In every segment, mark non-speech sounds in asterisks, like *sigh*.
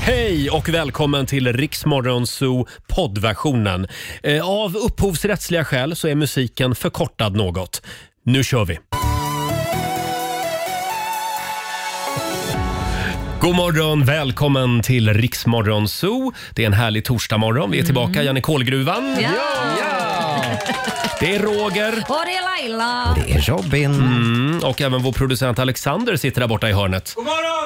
Hej och välkommen till Riksmorgon Zoo poddversionen. Eh, Av upphovsrättsliga skäl så är musiken förkortad något. Nu kör vi! God morgon, välkommen till Riksmorgon Zoo. Det är en härlig torsdagmorgon. Vi är tillbaka, Janne Kolgruvan. Ja. Det är Roger. Och det är Laila. Robin. Mm, och även vår producent Alexander sitter där borta i hörnet.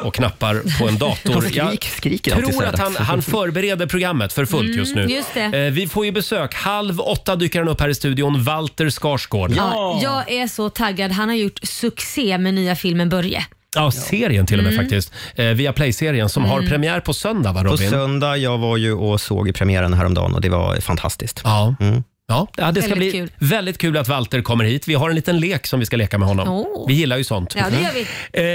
Och knappar på en dator. skrik- skriker alltid så tror här. att han, han förbereder programmet för fullt Mm, just nu. just det. Eh, Vi får ju besök. Halv åtta dyker han upp här i studion. Walter Skarsgård. Ja, jag är så taggad. Han har gjort succé med nya filmen Börje. Ja, serien till och med Mm. faktiskt. Eh, via Play-serien som har Mm. premiär på söndag va På Robin? söndag, jag var ju och såg premiären häromdagen och det var fantastiskt. Mm. Ja. Ja, ja, det ska Väldigt bli kul. väldigt kul att Walter kommer hit. Vi har en liten lek som vi ska leka med honom. Åh. Vi gillar ju sånt. Ja, det gör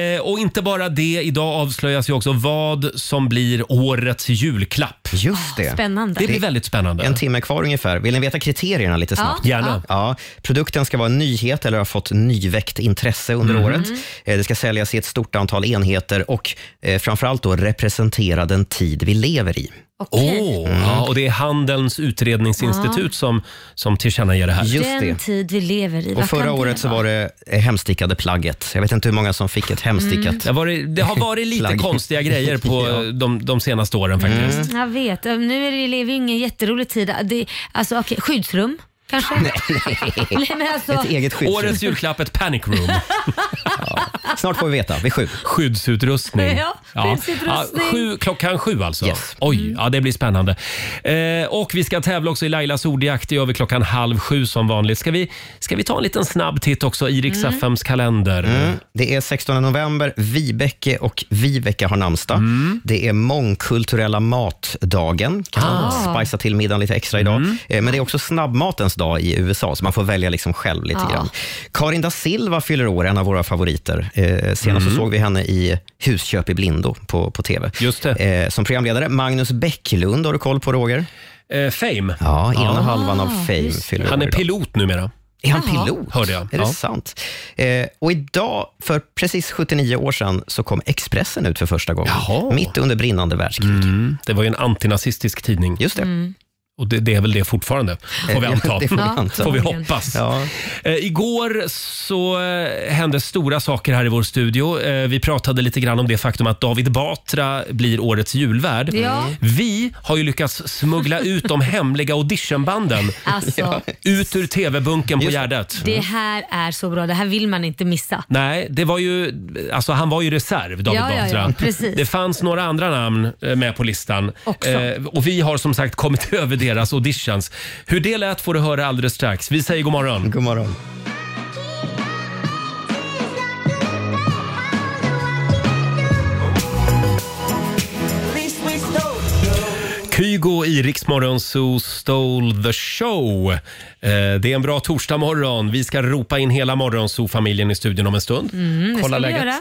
vi. Eh, och inte bara det, idag avslöjas ju också vad som blir årets julklapp. Just det. Ah, Spännande. Det blir väldigt spännande. En timme kvar ungefär. Vill ni veta kriterierna lite Ja. snabbt? Gärna. Ja, produkten ska vara en nyhet eller ha fått nyväckt intresse under Mm. året. Eh, Det ska säljas i ett stort antal enheter och eh, framförallt då representera den tid vi lever i. Okej. Åh, ja, och det är Handelns utredningsinstitut som, som tillkännager det här. Just Den det. tid vi lever i. Och Vad förra kan året så vara? var det eh, hemstickade plagget. Jag vet inte hur många som fick Mm. ett hemstickat. Det har varit, det har varit lite *laughs* Plagg. konstiga grejer på *laughs* Ja. de, de *laughs* senaste åren faktiskt. Mm. Jag vet. Nu är det, lever vi ju ingen jätterolig tid. Det, alltså, okay, skyddsrum kanske? Nej, men alltså, Ett eget skyddsrum. Årets julklapp, ett panic room. *laughs* Snart får vi veta, vid sju. Skyddsutrustning. Ja, skyddsutrustning. Mm. sju, klockan sju alltså? Yes. Oj, ja, det blir spännande. Eh, och vi ska tävla också i Lailas ordjakt. Det gör vi klockan halv sju som vanligt. Ska vi, ska vi ta en liten snabb titt också i Rix Mm. FMs kalender? Mm. Det är 16 november, Vibeke och Viveka har namnsdag. Mm. Det är mångkulturella matdagen. Kan Ah. spicea till middagen lite extra idag. Mm. Eh, Men det är också snabbmatens dag i USA, så man får välja liksom själv lite Ja. grann. Karin da Silva fyller år, en av våra favoriter. Eh, Senast Mm. så såg vi henne i Husköp i blindo på, på TV. Just det. Eh, Som programledare, Magnus Bäcklund har du koll på, Roger? Eh, fame. Ja, ena Ja. halvan av Fame Ah, just det. fyller Han år är idag. pilot numera. Är han Jaha. pilot? Hörde jag. Är Ja. det sant? Eh, och idag, för precis 79 år sedan, så kom Expressen ut för första gången. Jaha. Mitt under brinnande världskrig. Mm. Det var ju en antinazistisk tidning. Just det. Och det, det är väl det fortfarande, får vi Eh, *laughs* anta. det får vi Mm. Ja. anta. Får vi Förmodligen. hoppas. Ja. Eh, igår så eh, hände stora saker här i vår studio. Eh, vi pratade lite grann om det faktum att David Batra blir årets julvärd. Ja. Vi har ju lyckats smuggla ut de hemliga auditionbanden alltså, *laughs* ut ur TV-bunken på Just det. Gärdet. det här är så bra. Det här vill man inte missa. Nej, det var ju, alltså han var ju reserv, David Ja, ja, ja, Batra. precis. Det fanns några andra namn eh, med på listan. Eh, Också. och vi har som sagt kommit *laughs* över deras auditions. Hur det lät får du höra alldeles strax. Vi säger god morgon. God morgon. Kygo i Riksmorgon Zoo stole the show. Eh, det är en bra torsdagmorgon. Vi ska ropa in hela Morgonzoo-familjen i studion om en stund. Mm, det ska vi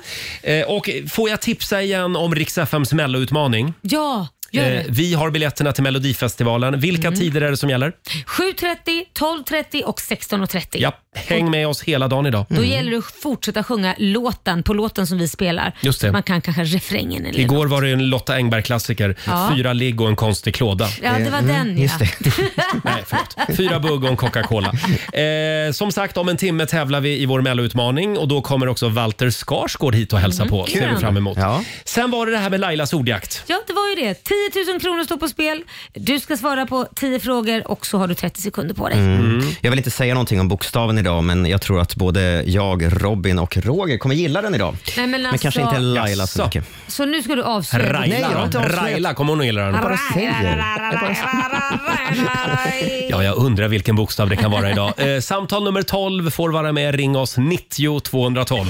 Eh, och får jag tipsa igen om Rix FMs melloutmaning? Ja, gör det. Mm. Eh, vi har biljetterna till Melodifestivalen. Vilka tider är det som gäller? 7.30, 12.30 och 16.30. Ja, häng med oss hela dagen idag. Mm. Då gäller det att fortsätta sjunga låten på låten som vi spelar. Just det. Man kan kanske refrängen eller Igår var det en Lotta Engberg-klassiker. Ja. Fyra ligg och en konstig klåda. Ja, det var den ja. Mm, Just *laughs* det. Nej, förlåt. Fyra bugg och *laughs* en Coca-Cola. Eh, som sagt, om en timme tävlar vi i vår Mello-utmaning och då kommer också Walter Skarsgård hit och hälsa på. Ser vi Mm, Kul. fram emot. Ja. Sen var det det här med Lailas ordjakt. Ja, det var ju det. 10 000 kronor står på spel. Du ska svara på 10 frågor och så har du 30 sekunder på dig. Mm. Mm. Jag vill inte säga någonting om bokstaven idag, men jag tror att både jag, Robin och Roger kommer gilla den idag. Nej, men alltså- kanske inte Laila så Jaså. mycket. Så nu ska du avslöja. Nej, jag har Raila, inte då. avslöjat. Raila kommer hon att gilla den. bara säger. Ja, jag undrar vilken bokstav det kan vara idag. Eh, samtal nummer 12 får vara med. Ring oss 90 212.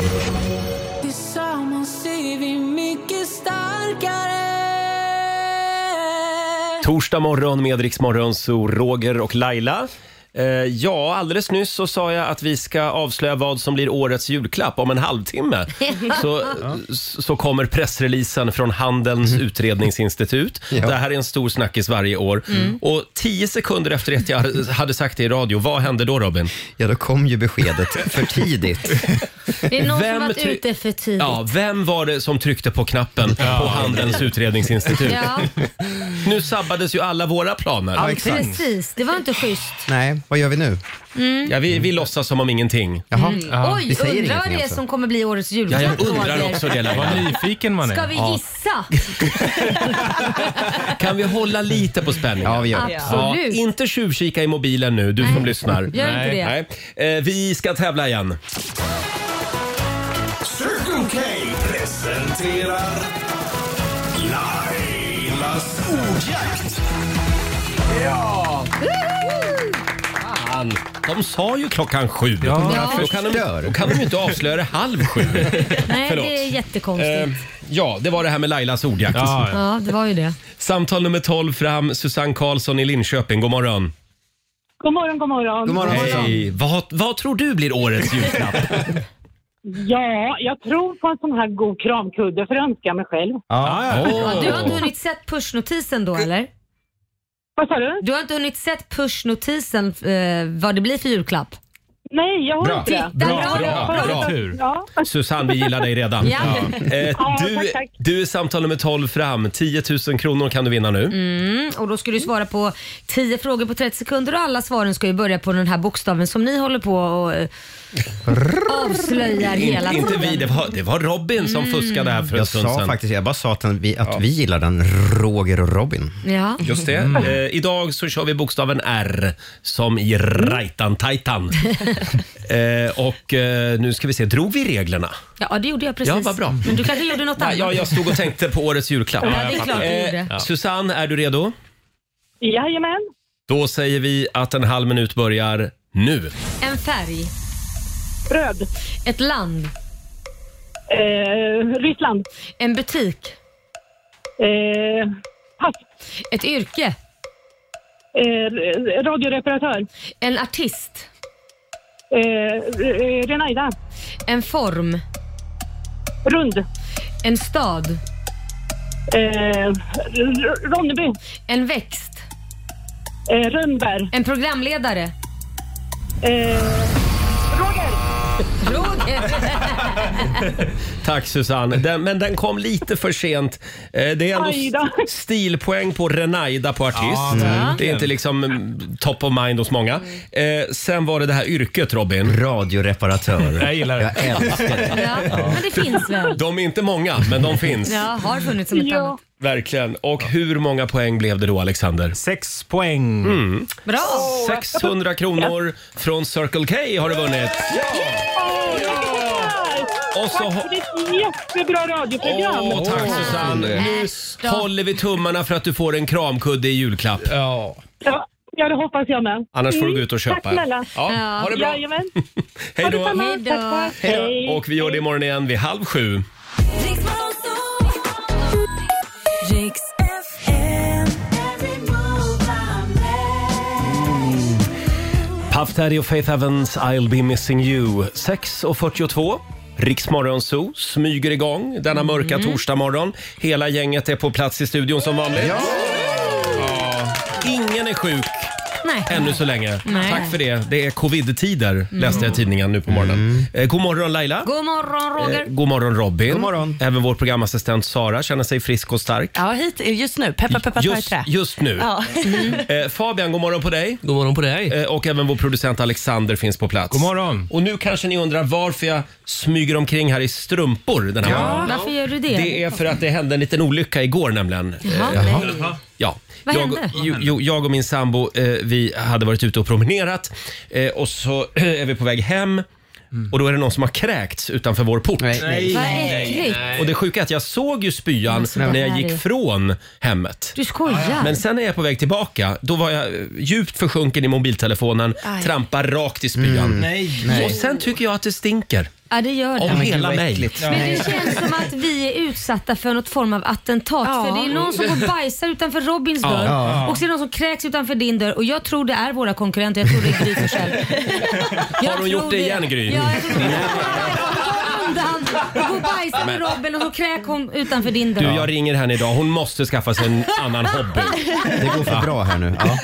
Tillsammans är vi mycket starkare Torsdag morgon med Rix Morgon, så Roger och Laila. Eh, ja, alldeles nyss så sa jag att vi ska avslöja vad som blir årets julklapp om en halvtimme. *laughs* Så, s- så kommer pressreleasen från Handelns utredningsinstitut. Mm. Ja. Mm. Det här är en stor snackis varje år. Och tio sekunder efter att jag hade sagt det i radio, vad hände då Robin? Ja, då kom ju beskedet för tidigt. *laughs* Det är någon Vem som varit ty- ute för tidigt. *laughs* Ja, vem var det som tryckte på knappen på Handelns utredningsinstitut? Ja, Nu sabbades ju alla våra planer. Ja, exakt. precis. Det var inte schysst. Mm. Nej, vad gör vi nu? Ja, vi, vi låtsas som om ingenting. Jaha. Oj, Vi säger undrar vad ingenting det är alltså. som kommer bli årets Ja, julklapp. jag undrar Roger. också det Laila. Vad nyfiken man är. Ska vi *laughs* gissa? Kan vi hålla lite på spänningen? Ja, vi gör det. Absolut. inte tjuvkika i mobilen nu, du som lyssnar. Gör inte Nej. det. Nej. Eh, vi ska tävla igen. Circle K presenterar Lailas ordjakt. Fan, de sa ju klockan sju. Ja, Ja. Då kan, de, Förstör. då kan de ju inte avslöja det halv sju. Nej, Förlåt. det är jättekonstigt. Eh, ja, det var det här med Lailas ordjakt. ja, ja. Ja, det var ju det. Samtal nummer 12 fram, Susanne Karlsson i Linköping. God morgon. God morgon, god morgon. God morgon. Hej. Vad, vad tror du blir årets julklapp? Ja, jag tror på en sån här god kramkudde för att önska mig själv. Ja. Ja, ja. Åh. Du har inte hunnit sett pushnotisen då eller? Vad sa du? Du har inte hunnit sett pushnotisen eh, vad det blir för julklapp? Nej, jag har Bra. inte det. Där Bra, har du- bra, bra. Tur. Ja. Susanne, vi gillar dig redan. Ja. Eh, Ja, du, tack, tack. du är samtal nummer 12 fram. 10 000 kronor kan du vinna nu. Mm, och då ska du svara på 10 frågor på 30 sekunder och alla svaren ska ju börja på den här bokstaven som ni håller på och eh, avslöjar hela In, inte tiden. vi, det var, det var Robin som Mm. fuskade här för en Jag stund sa sedan. faktiskt, jag bara sa att, den, vi, att vi gillar den, Roger och Robin. Mm. Ja. Just det. Eh, idag så kör vi bokstaven R som i Mm. *laughs* Rajtan-Tajtan. eh, och eh, nu ska vi se, drog vi reglerna? ja, det gjorde jag precis. Ja, vad bra. Men du kanske gjorde något Ja, annat? ja, jag stod och tänkte på årets julklapp. Ja, det är klart du gjorde. Eh, Susanne, är du redo? Jajamän. Då säger vi att en halv minut börjar nu. En färg, Bröd. ett land, Eh, Ryssland. en butik, Eh, pass. ett yrke, Eh, radioreparatör. en artist, Eh, eh, Renaida. en form, Rund. en stad, Eh, R- Ronneby. en växt, Eh, Rönnberg. en programledare. Eh, Roger. Roger. Tack Susanne, den, men den kom lite för sent. Eh, det är ändå Aj då. st- stilpoäng på Renaida på artist. Ja, verkligen. det är inte liksom mm, top of mind hos många. Eh, sen var det det här yrket Robin. Radioreparatör. *laughs* Jag gillar det. Jag älskar det. Ja, men det finns väl? De är inte många, men de finns. Ja, har funnits som ett Ja. annat. Verkligen. Och hur många poäng blev det då Alexander? Sex poäng. Bra! 600 kronor från Circle K har du vunnit. Åh, Och så Tack ho- för ditt jättebra radioprogram. Åh, tack Åh. Susanne. Nu Äsch då. håller vi tummarna för att du får en kramkudde i julklapp. Ja. Ja, ja, det hoppas jag med. Annars får du Mm. gå ut och köpa. Tack snälla. Ja, Ja. ha det bra. Jajamän. Hej Ha då. detsamma. Hej då. Tack, tack. Hej. Och vi gör det imorgon igen vid halv sju. Riks FM. Every move I make. Puff Daddy och Faith Evans, I'll be missing you. 6.42. Riksmorgon Zoo smyger igång denna mörka torsdagmorgon. Hela gänget är på plats i studion som vanligt. Ja. Ingen är sjuk Nej. ännu så länge. Nej. Mm. Tack för det. Det är covid-tider läste jag i tidningen nu på morgonen. Eh, god morgon Laila. God morgon Roger. Eh, god morgon Robin. God morgon. Även vår programassistent Sara känner sig frisk och stark. Ja, hit, just nu. Peppa, peppa, peppa, Just, trä. just nu. Ja. *laughs* Eh, Fabian, god morgon på dig. God morgon på dig. Eh, Och även vår producent Alexander finns på plats. God morgon. Och nu kanske ni undrar varför jag smyger omkring här i strumpor den här morgonen. Varför gör du det? Det är för att det hände en liten olycka igår nämligen. Jaha, Eh, nej. Ja. Vad jag, hände? Jo, jo, jag och min sambo eh, vi hade varit ute och promenerat eh, och så *clears throat* är vi på väg hem Mm. och då är det någon som har kräkts utanför vår port. Vad äckligt. Och det sjuka är att jag såg ju spyan så när där jag är det. gick från hemmet. Du skojar. Ah, Men sen när jag är på väg tillbaka, då var jag eh, djupt försjunken i mobiltelefonen, Aj. trampar rakt i spyan. Mm, Nej. Och sen tycker jag att det stinker. Ja, det gör det. Om Gud, hela vad mig. äckligt. Men det känns som att vi är utsatta för något form av attentat. Ja. För det är någon som går och bajsar utanför Robins dörr och så är det någon som kräks utanför din dörr. Och jag tror det är våra konkurrenter. Jag tror det är Gry *laughs* Forssell. Jag hon tror gjort det igen, Gry? Ja, jag tror det. Hon går undan och går och bajsar med Robin och så kräks hon utanför din dörr. Du, jag ringer *laughs* henne idag. Hon måste skaffa sig en annan hobby. Det går för bra här nu. Ja.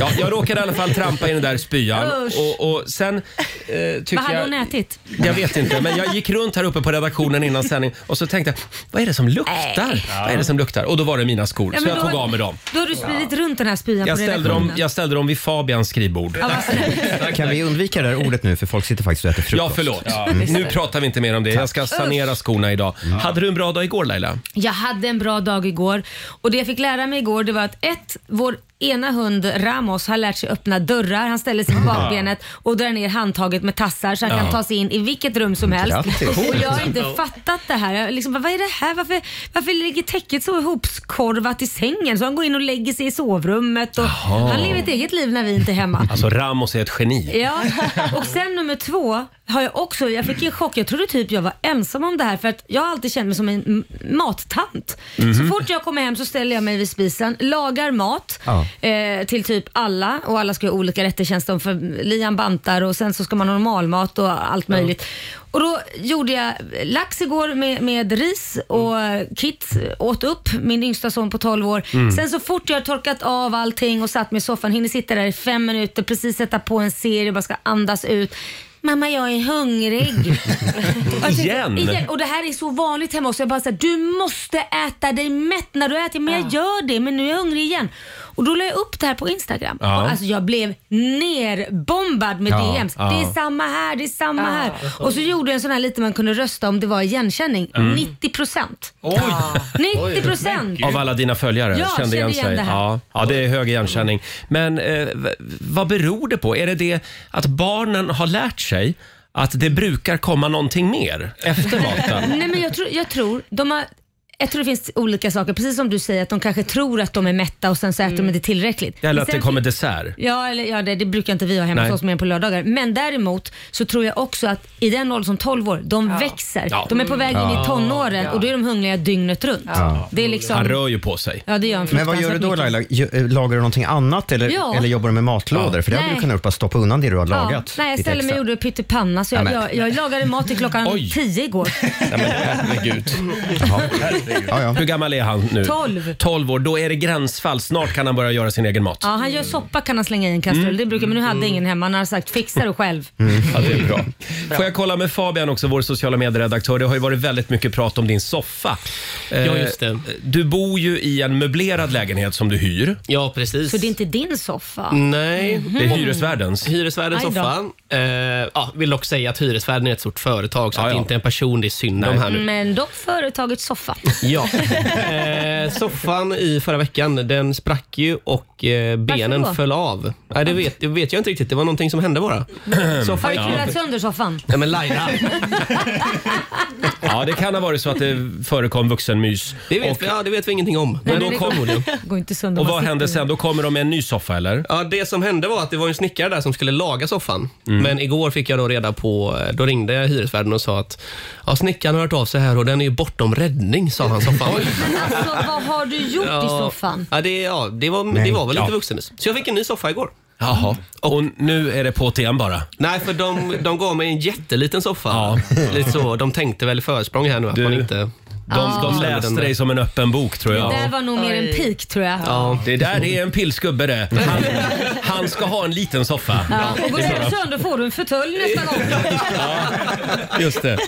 Ja, jag råkade i alla fall trampa i den där spyan Usch. och, och sen eh, tycker Vad hade jag... hon ätit? Jag vet inte, men jag gick runt här uppe på redaktionen innan sändning och så tänkte jag, vad är det som luktar? Vad är det som luktar? Och då var det mina skor, Ja, så men jag då- tog av mig dem. Då har du spridit runt den här spyan Jag på ställde, dem, redaktionen. jag ställde dem vid Fabians skrivbord. Ja, vad snällt. Kan vi undvika det där ordet nu för folk sitter faktiskt och äter frukost. Ja, förlåt. Mm. Nu pratar vi inte mer om det. Jag ska sanera skorna idag. Hade du en bra dag igår Laila? Jag hade en bra dag igår och det jag fick lära mig igår det var att ett, vår ena hund Ramos har lärt sig öppna dörrar. Han ställer sig på bakbenet och drar ner handtaget med tassar så han kan ta sig in i vilket rum som helst. Grattis. Och jag har inte fattat det här. Jag liksom, bara, vad är det här? Varför, varför ligger täcket så ihopkorvat i sängen? Så han går in och lägger sig i sovrummet. Och han lever ett eget liv när vi inte är hemma. Alltså Ramos är ett geni. Ja, och sen nummer två har jag också, jag fick en chock. Jag trodde typ jag var ensam om det här för att jag har alltid känt mig som en m- mattant. Så fort jag kommer hem så ställer jag mig vid spisen, lagar mat Ja. eh, till typ alla och alla ska ha olika rätter känns det om, för Lian bantar och sen så ska man ha normalmat och allt möjligt. Och då gjorde jag lax igår med, med ris och eh, Kit åt upp, min yngsta son på 12 år. Sen så fort jag har torkat av allting och satt mig i soffan, hinner sitta där i fem minuter, precis sätta på en serie, bara ska andas ut. Mamma jag är hungrig. Och jag tänkte, Alltså, Igen? Alltså, igen. Och det här är så vanligt hemma också. Jag bara såhär, du måste äta dig mätt när du äter. Men jag gör det, men nu är jag hungrig igen. Och då la jag upp det här på Instagram. Ja. Och alltså jag blev nerbombad med Ja, DMs. ja. Det är samma här, det är samma här. Och så gjorde jag en sån här liten man kunde rösta om det var igenkänning. 90 procent. Mm. Oj! 90 procent! Av alla dina följare? Ja, kände igen det här. Ja, ja, det är hög igenkänning. Men eh, v- vad beror det på? Är det det att barnen har lärt sig att det brukar komma någonting mer *laughs* efter maten? Nej men jag tror, jag tror de har jag tror det finns olika saker, precis som du säger att de kanske tror att de är mätta och sen så äter de inte tillräckligt. Eller Men att det sen kommer dessert? Ja, eller, ja det, det brukar inte vi ha hemma Nej. hos oss mer än på lördagar. Men däremot så tror jag också att i den åldern som 12 år, de växer. Ja. De är på väg in i tonåren och då är de hungriga dygnet runt. Det är Han liksom, rör ju på sig. ja, det gör de Men vad gör du då fruktansvärt mycket. Laila? Gö- eh, Lagar du någonting annat eller, Ja. eller jobbar du med matlådor? För det hade Nej. du kunnat gjort, bara stoppa undan det du har Ja, lagat. nej, jag Lite ställde mig extra. och gjorde pyttipanna så jag, Nämen. jag, jag lagade mat till klockan Oj. 10 igår. Nej, men herregud. Ja, ja. Hur gammal är han nu? Tolv. 12 år. Då är det gränsfall. Snart kan han börja göra sin egen mat. Ja, han gör soppa kan han slänga i en kastrull, det brukar, men nu hade ingen hemma. Han har sagt fixa det själv. Ja, det är bra. Får jag kolla med Fabian också, vår sociala medieredaktör. Det har ju varit väldigt mycket prat om din soffa. Eh, Ja, just det. Du bor ju i en möblerad lägenhet som du hyr. Mm. Ja, precis. Så det är inte din soffa? Mhm. Nej. Det är hyresvärdens. Hyresvärdens Aj då. soffa. Eh, ja, vill dock säga att hyresvärden är ett stort företag, så Ja, att ja. det inte är en personlig syndom här nu. Men dock företagets soffa. Ja. Eh, soffan i förra veckan, den sprack ju och eh, benen Varför då? föll av. Nej, det vet, det vet jag inte riktigt. Det var någonting som hände bara. Soffan Har gick du av. knullat sönder soffan? Nej, men Laila, Ja, det kan ha varit så att det förekom vuxenmys. det vet, Och- vi, ja, det vet vi ingenting om. Nej, Men men då det- kom hon ju. Går inte sönder. Och man vad sitter hände i. sen? Då kommer de med en ny soffa eller? Ja, det som hände var att det var en snickare där som skulle laga soffan. Mm. Men igår fick jag då reda på, eh, då ringde jag hyresvärden och sa att ja, snickaren har hört av sig här och den är ju bortom räddning, sa han soffan. Alltså vad har du gjort i soffan? Ja, det, ja, det, var, det var väl lite vuxenes. Så jag fick en ny soffa igår. Jaha. Och nu är det på till igen bara. Nej, för de, de gav mig en jätteliten soffa. Lite så, de tänkte väl i försprång här nu att Du. man inte... De, de Ja. läste dig som en öppen bok tror jag. Det här var nog mer en pik tror jag. Ja, Det där är en pilsgubbe det. Han, han ska ha en liten soffa. Ja, och går den sönder får du en fåtölj nästa gång. Just det.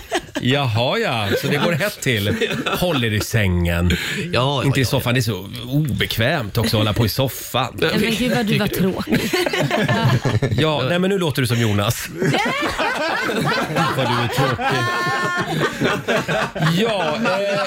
Jaha ja, så det går hett till. Håll er i sängen. ja, Inte i ja, soffan, det är så obekvämt också att hålla på i soffan. ja. Ja, men gud vad du var tråkig. Ja, nej men nu låter du som Jonas. Vad du är tråkig. Ja, eh,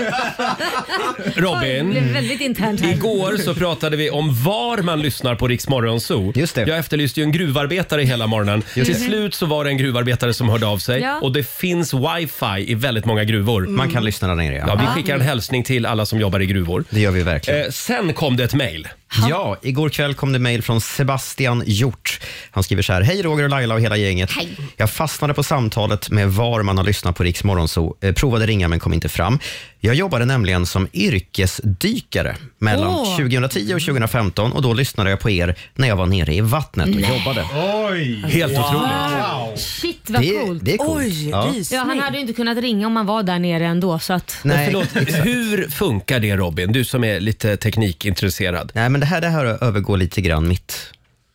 Det blev Robin. väldigt internt här. Igår så pratade vi om var man lyssnar på Rix Morgon Zoo. Just det. Jag efterlyste ju en gruvarbetare hela morgonen. Till slut så var det en gruvarbetare som hörde av sig Ja. och det finns wifi i väldigt många gruvor. Mm. Man kan lyssna där nere, Ja, ja. vi skickar en hälsning till alla som jobbar i gruvor. Det gör vi verkligen. Eh, sen kom det ett mejl. Ja, igår kväll kom det mejl från Sebastian Hjort. Han skriver så här. Hej Roger och Laila och hela gänget. Hej. Jag fastnade på samtalet med var man har lyssnat på Riks Morgonzoo. Eh, provade ringa men kom inte fram. Jag jobbade nämligen som yrkesdykare mellan Åh. 2010 och 2015 och då lyssnade jag på er när jag var nere i vattnet och jobbade. Helt otroligt. Shit vad Det, coolt. det är coolt. Oj, Ja. rysning. Ja, han hade ju inte kunnat ringa om han var där nere ändå så att... Men Nej. Förlåt, hur funkar det Robin? Du som är lite teknikintresserad. Nej, men det här, det här övergår lite grann mitt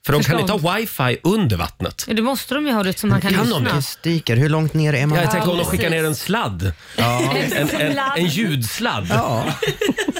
För de kan inte Förstånd. ha wifi under vattnet. Ja, det måste de ju ha det som man kan, Kan de lyssna. det? Stiker, hur långt ner är man? Jag tänker om de precis. skickar ner en sladd. En, en, Sladd. en ljudsladd. Ja,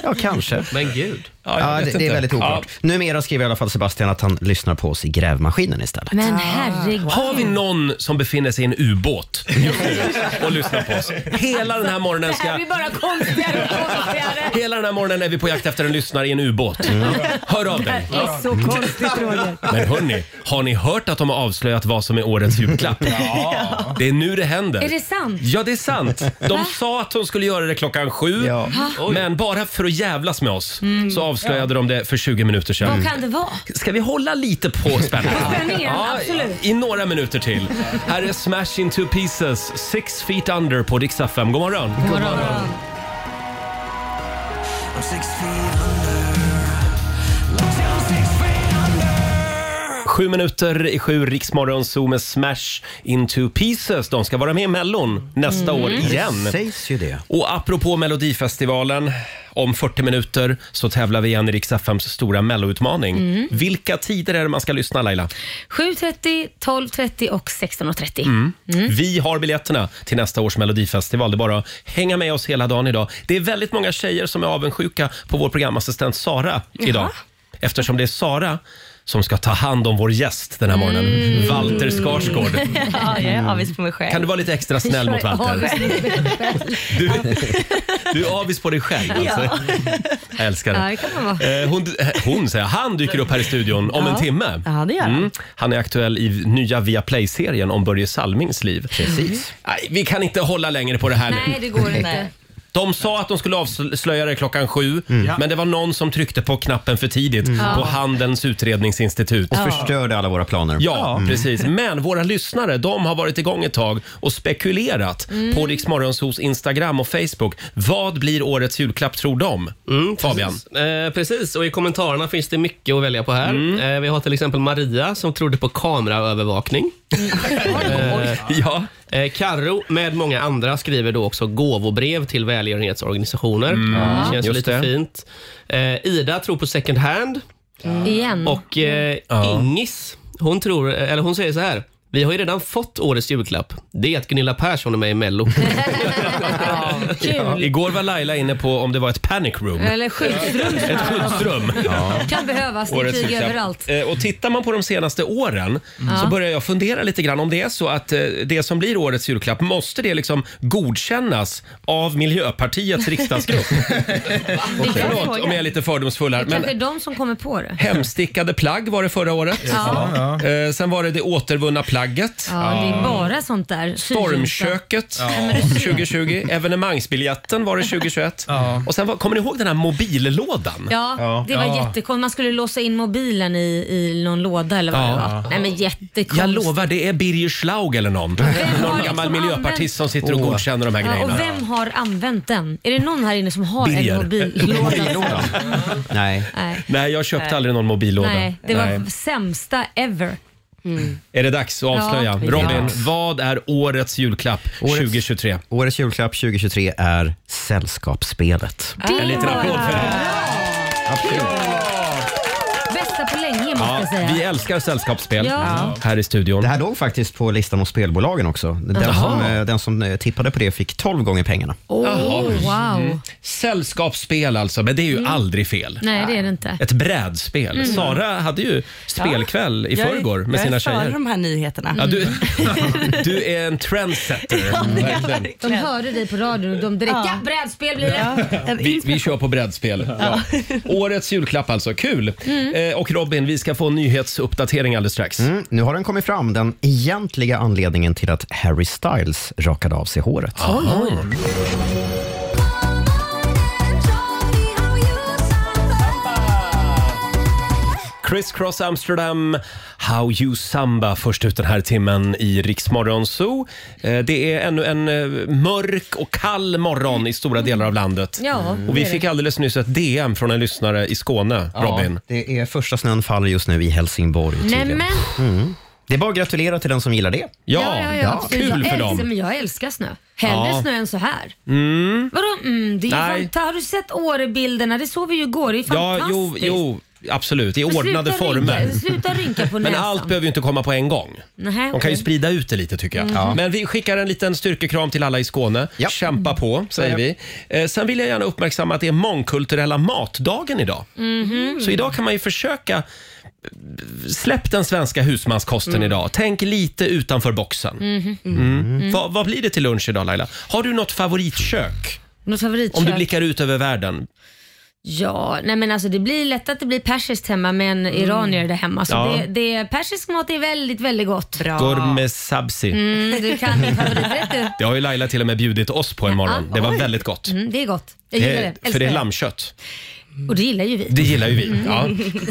ja kanske. Men gud. jag Ja, det, vet det är inte. väldigt oklart. Numera skriver i alla fall Sebastian att han lyssnar på oss i grävmaskinen istället. Men herregud. Ja. Har vi någon som befinner sig i en ubåt just nu och lyssnar på oss? Hela den här morgonen Det här ska... blir bara konstigare och konstigare. Hela den här morgonen är vi på jakt efter en lyssnare i en ubåt. Mm. Hör av dig. Det är så konstigt Roger. Men hörni, har ni hört att de har avslöjat vad som är årets julklapp? Ja. Det är nu det händer. Är det sant? Ja, det är sant. De sa att de skulle göra det klockan sju, Ja. men bara för att jävlas med oss så avslöjade de det för 20 minuter sedan. Mm. Vad kan det vara? Ska vi hålla lite på spänningen? spänningen, absolut. I, I några minuter till. Här är Smash Into Pieces, Six Feet Under på Dix FM. God morgon! God morgon. Sju minuter i sju, Riksmorgon Zoo med Smash Into Pieces. De ska vara med i Mellon nästa Mm. år igen. Det sägs ju det. Och apropå Melodifestivalen, om 40 minuter så tävlar vi igen i Rix FMs stora melloutmaning. Mm. Vilka tider är det man ska lyssna Laila? 7.30, 12.30 och Mm. 16.30. Mm. Mm. Vi har biljetterna till nästa års Melodifestival. Det är bara att hänga med oss hela dagen idag. Det är väldigt många tjejer som är avundsjuka på vår programassistent Sara idag. Eftersom det är Sara som ska ta hand om vår gäst den här morgonen, *laughs* Walter Skarsgård. Mm. *laughs* Ja, jag är avis på mig själv. Kan du vara lite extra snäll mot Walter? Du, du är avis på dig själv alltså. Jag älskar Ja, det. det kan man vara. Eh, Hon, eh, hon säger jag. han dyker upp här i studion om en timme. Mm. Ja, det gör han. Han är aktuell i nya Viaplay-serien om Börje Salmings liv. Precis. Nej, vi kan inte hålla längre på det här Nej, nu. det går inte. Nej. De sa att de skulle avslöja det klockan sju, Mm. men det var någon som tryckte på knappen för tidigt på Handelns utredningsinstitut. Och förstörde alla våra planer. Mm. Ja, Mm. precis. Men våra lyssnare de har varit igång ett tag och spekulerat på Rix Morgonzos Instagram och Facebook. Vad blir årets julklapp tror de? Fabian? Eh, precis, och i kommentarerna finns det mycket att välja på här. Mm. Eh, vi har till exempel Maria som trodde på kameraövervakning. Mm. Ja. Eh, Karro med många andra skriver då också gåvobrev till välgörenhetsorganisationer. Det känns ju Mm. Just lite det. fint. Eh, Ida tror på second hand Igen. och eh, Ingis, hon, tror, eh, eller hon säger så här. Vi har ju redan fått årets julklapp. Det är att Gunilla Persson är med i *laughs* Mello. Kul. Igår var Laila inne på om det var ett panic room. Eller skyddsrum som Ett skyddsrum. kan behövas. Det är Årets krig julklapp. överallt. Mm. Eh, Och tittar man på de senaste åren så börjar jag fundera lite grann om det är så att eh, det som blir årets julklapp, måste det liksom godkännas *laughs* av Miljöpartiets riksdagsgrupp? Det är Förlåt om jag är lite fördomsfull här. Men kanske är de som kommer på det. Hemstickade plagg var det förra året. Eh, sen var det det återvunna plagget. Mm. Ja, det är bara sånt där. Stormköket 2020. *laughs* Evenemangsbiljetten var det 2021. Och sen var, kommer ni ihåg den här mobillådan? Ja, det var jättekonstigt. Man skulle låsa in mobilen i, i någon låda eller vad det var. Nej men jättekonstigt. Jag lovar, det är Birger Schlaug eller någon. har Någon liksom gammal använt- miljöpartist som sitter och godkänner de här Ja, och grejerna. vem har använt den? Är det någon här inne som har Birger. en *laughs* mobillåda? Nej. Nej. Nej, jag köpte aldrig någon mobillåda. Nej, det var Nej. sämsta ever. Är det dags att avslöja? Ja. Robin, vad är årets julklapp Årets- 2023? Årets julklapp 2023 är Sällskapsspelet. En liten applåd för det. Bästa på länge måste Ja, jag säga. vi älskar sällskapsspel Ja. här i studion. Det här låg faktiskt på listan hos spelbolagen också. Den som, eh, den som eh, tippade på det fick 12 gånger pengarna. Oh, wow. Mm. Mm. Sällskapsspel alltså, men det är ju aldrig fel. Mm. Nej, Mm. det är det inte. Ett brädspel. Sara hade ju spelkväll i Mm. Jag är- förrgår med sina Jag är tjejer. före de här nyheterna. Ja, du, *laughs* du är en trendsetter. verkligen. De hörde dig på radion och de direkt ja. brädspel blir *laughs* det. Vi, vi kör på brädspel. Ja. Årets julklapp alltså. Kul! Mm. Eh, och Robin, vi ska få en nyhetsuppdatering alldeles strax. Mm, nu har den kommit fram, den egentliga anledningen till att Harry Styles rakade av sig håret. Criss Cross Amsterdam, How You Samba först ut den här timmen i Riksmorgon Zoo. Eh, Det är ännu en eh, mörk och kall morgon i stora delar av landet. Mm. Ja, Mm. Och vi det är fick alldeles nyss ett DM från en lyssnare i Skåne, Robin. Det är första snön faller just nu i Helsingborg. Nej, tydligen. Mm. men, Det är bara att gratulera till den som gillar det. Ja, ja, ja, ja, absolut. kul jag för älskar, dem. Men jag älskar snö. Hellre Ja. snö än så här. Vadå mm, det är ju Nej. fanta- Har du sett Årebilderna? Det såg vi ju igår. Det är Ja, fantastiskt. jo, jo. absolut, i Men ordnade sluta former. Rynka, sluta rynka på *laughs* Men näsan. allt behöver ju inte komma på en gång. Nähä, De kan ju Ah, okej. Mm. sprida ut det lite tycker jag. Men vi skickar en liten styrkekram till alla i Skåne. Ja. Kämpa på, Mm. säger vi. Eh, sen vill jag gärna uppmärksamma att det är mångkulturella matdagen idag. Mhm. Mm. Så idag kan man ju försöka eh, Släpp den svenska husmanskosten Mm. idag. Tänk lite utanför boxen. Mhm, Mm. Vad, vad blir det till lunch idag Laila? Har du något favoritkök? Något favoritkök? Om du blickar ut över världen. Ja, nej men alltså det blir lätt att det blir persiskt hemma men iranier där hemma. Så Mm. Ja. det, det, persisk mat är väldigt, väldigt gott. Bra. Gourmet sabzi. Mm, du kan din *laughs* favoriträtt du. Det har ju Laila till och med bjudit oss på en morgon. Ja, Det var väldigt gott. Mm, det är gott. Jag gillar det. för Älskar det är lammkött. Och det gillar ju vi. Mm. Det gillar ju Mm. vi. Mm.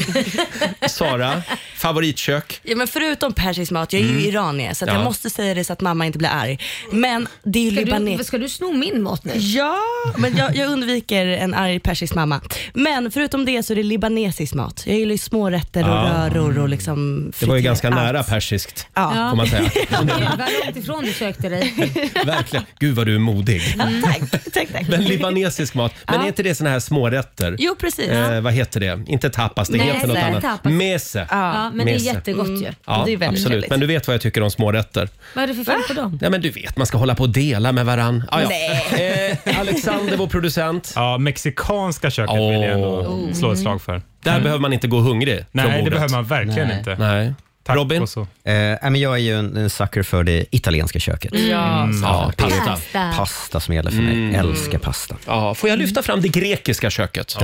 Ja. Sara, favoritkök? *laughs* Ja, men förutom persisk mat, jag är ju iranier så att Mm. Ja. jag måste säga det så att mamma inte blir arg. Men det är ju Ska libanes. du, ska du sno min mat *laughs* nu? Ja, men jag, jag undviker en arg persisk mamma. Men förutom det så är det libanesisk mat. Jag gillar ju smårätter och Ah. röror och liksom Det var ju friterat ganska allt. nära persiskt. Ja. *laughs* Får man säga. Gud, vad långt ifrån du sökte *laughs* dig. Verkligen. Gud vad du är modig. Tack, tack, tack. Men libanesisk mat, men är inte det såna här smårätter? Jo, precis. Eh, vad heter det? Inte tapas, det Nej, heter något nej, annat. tapas. Mese. Ja, men det är Mese. Mm. jättegott ju. Ja, Det är väldigt absolut. trevligt. Men du vet vad jag tycker om smårätter? Vad är det för fel på dem? Nej, men du vet, man ska hålla på och dela med varann. Ah, ja. *laughs* eh, Alexander, vår producent. Ja, mexikanska köket vill jag ändå slå ett slag för. Mm. Där behöver man inte gå hungrig från Nej, det bordet. behöver man verkligen Nej. inte. Nej. Tack Robin? och så. Eh, nej, men jag är ju en, en sucker för det italienska köket. Mm, Ja, pasta. Mm. Pasta. Pasta som gäller för mig. Älskar pasta. Ja, får jag Mm. lyfta fram det grekiska köket?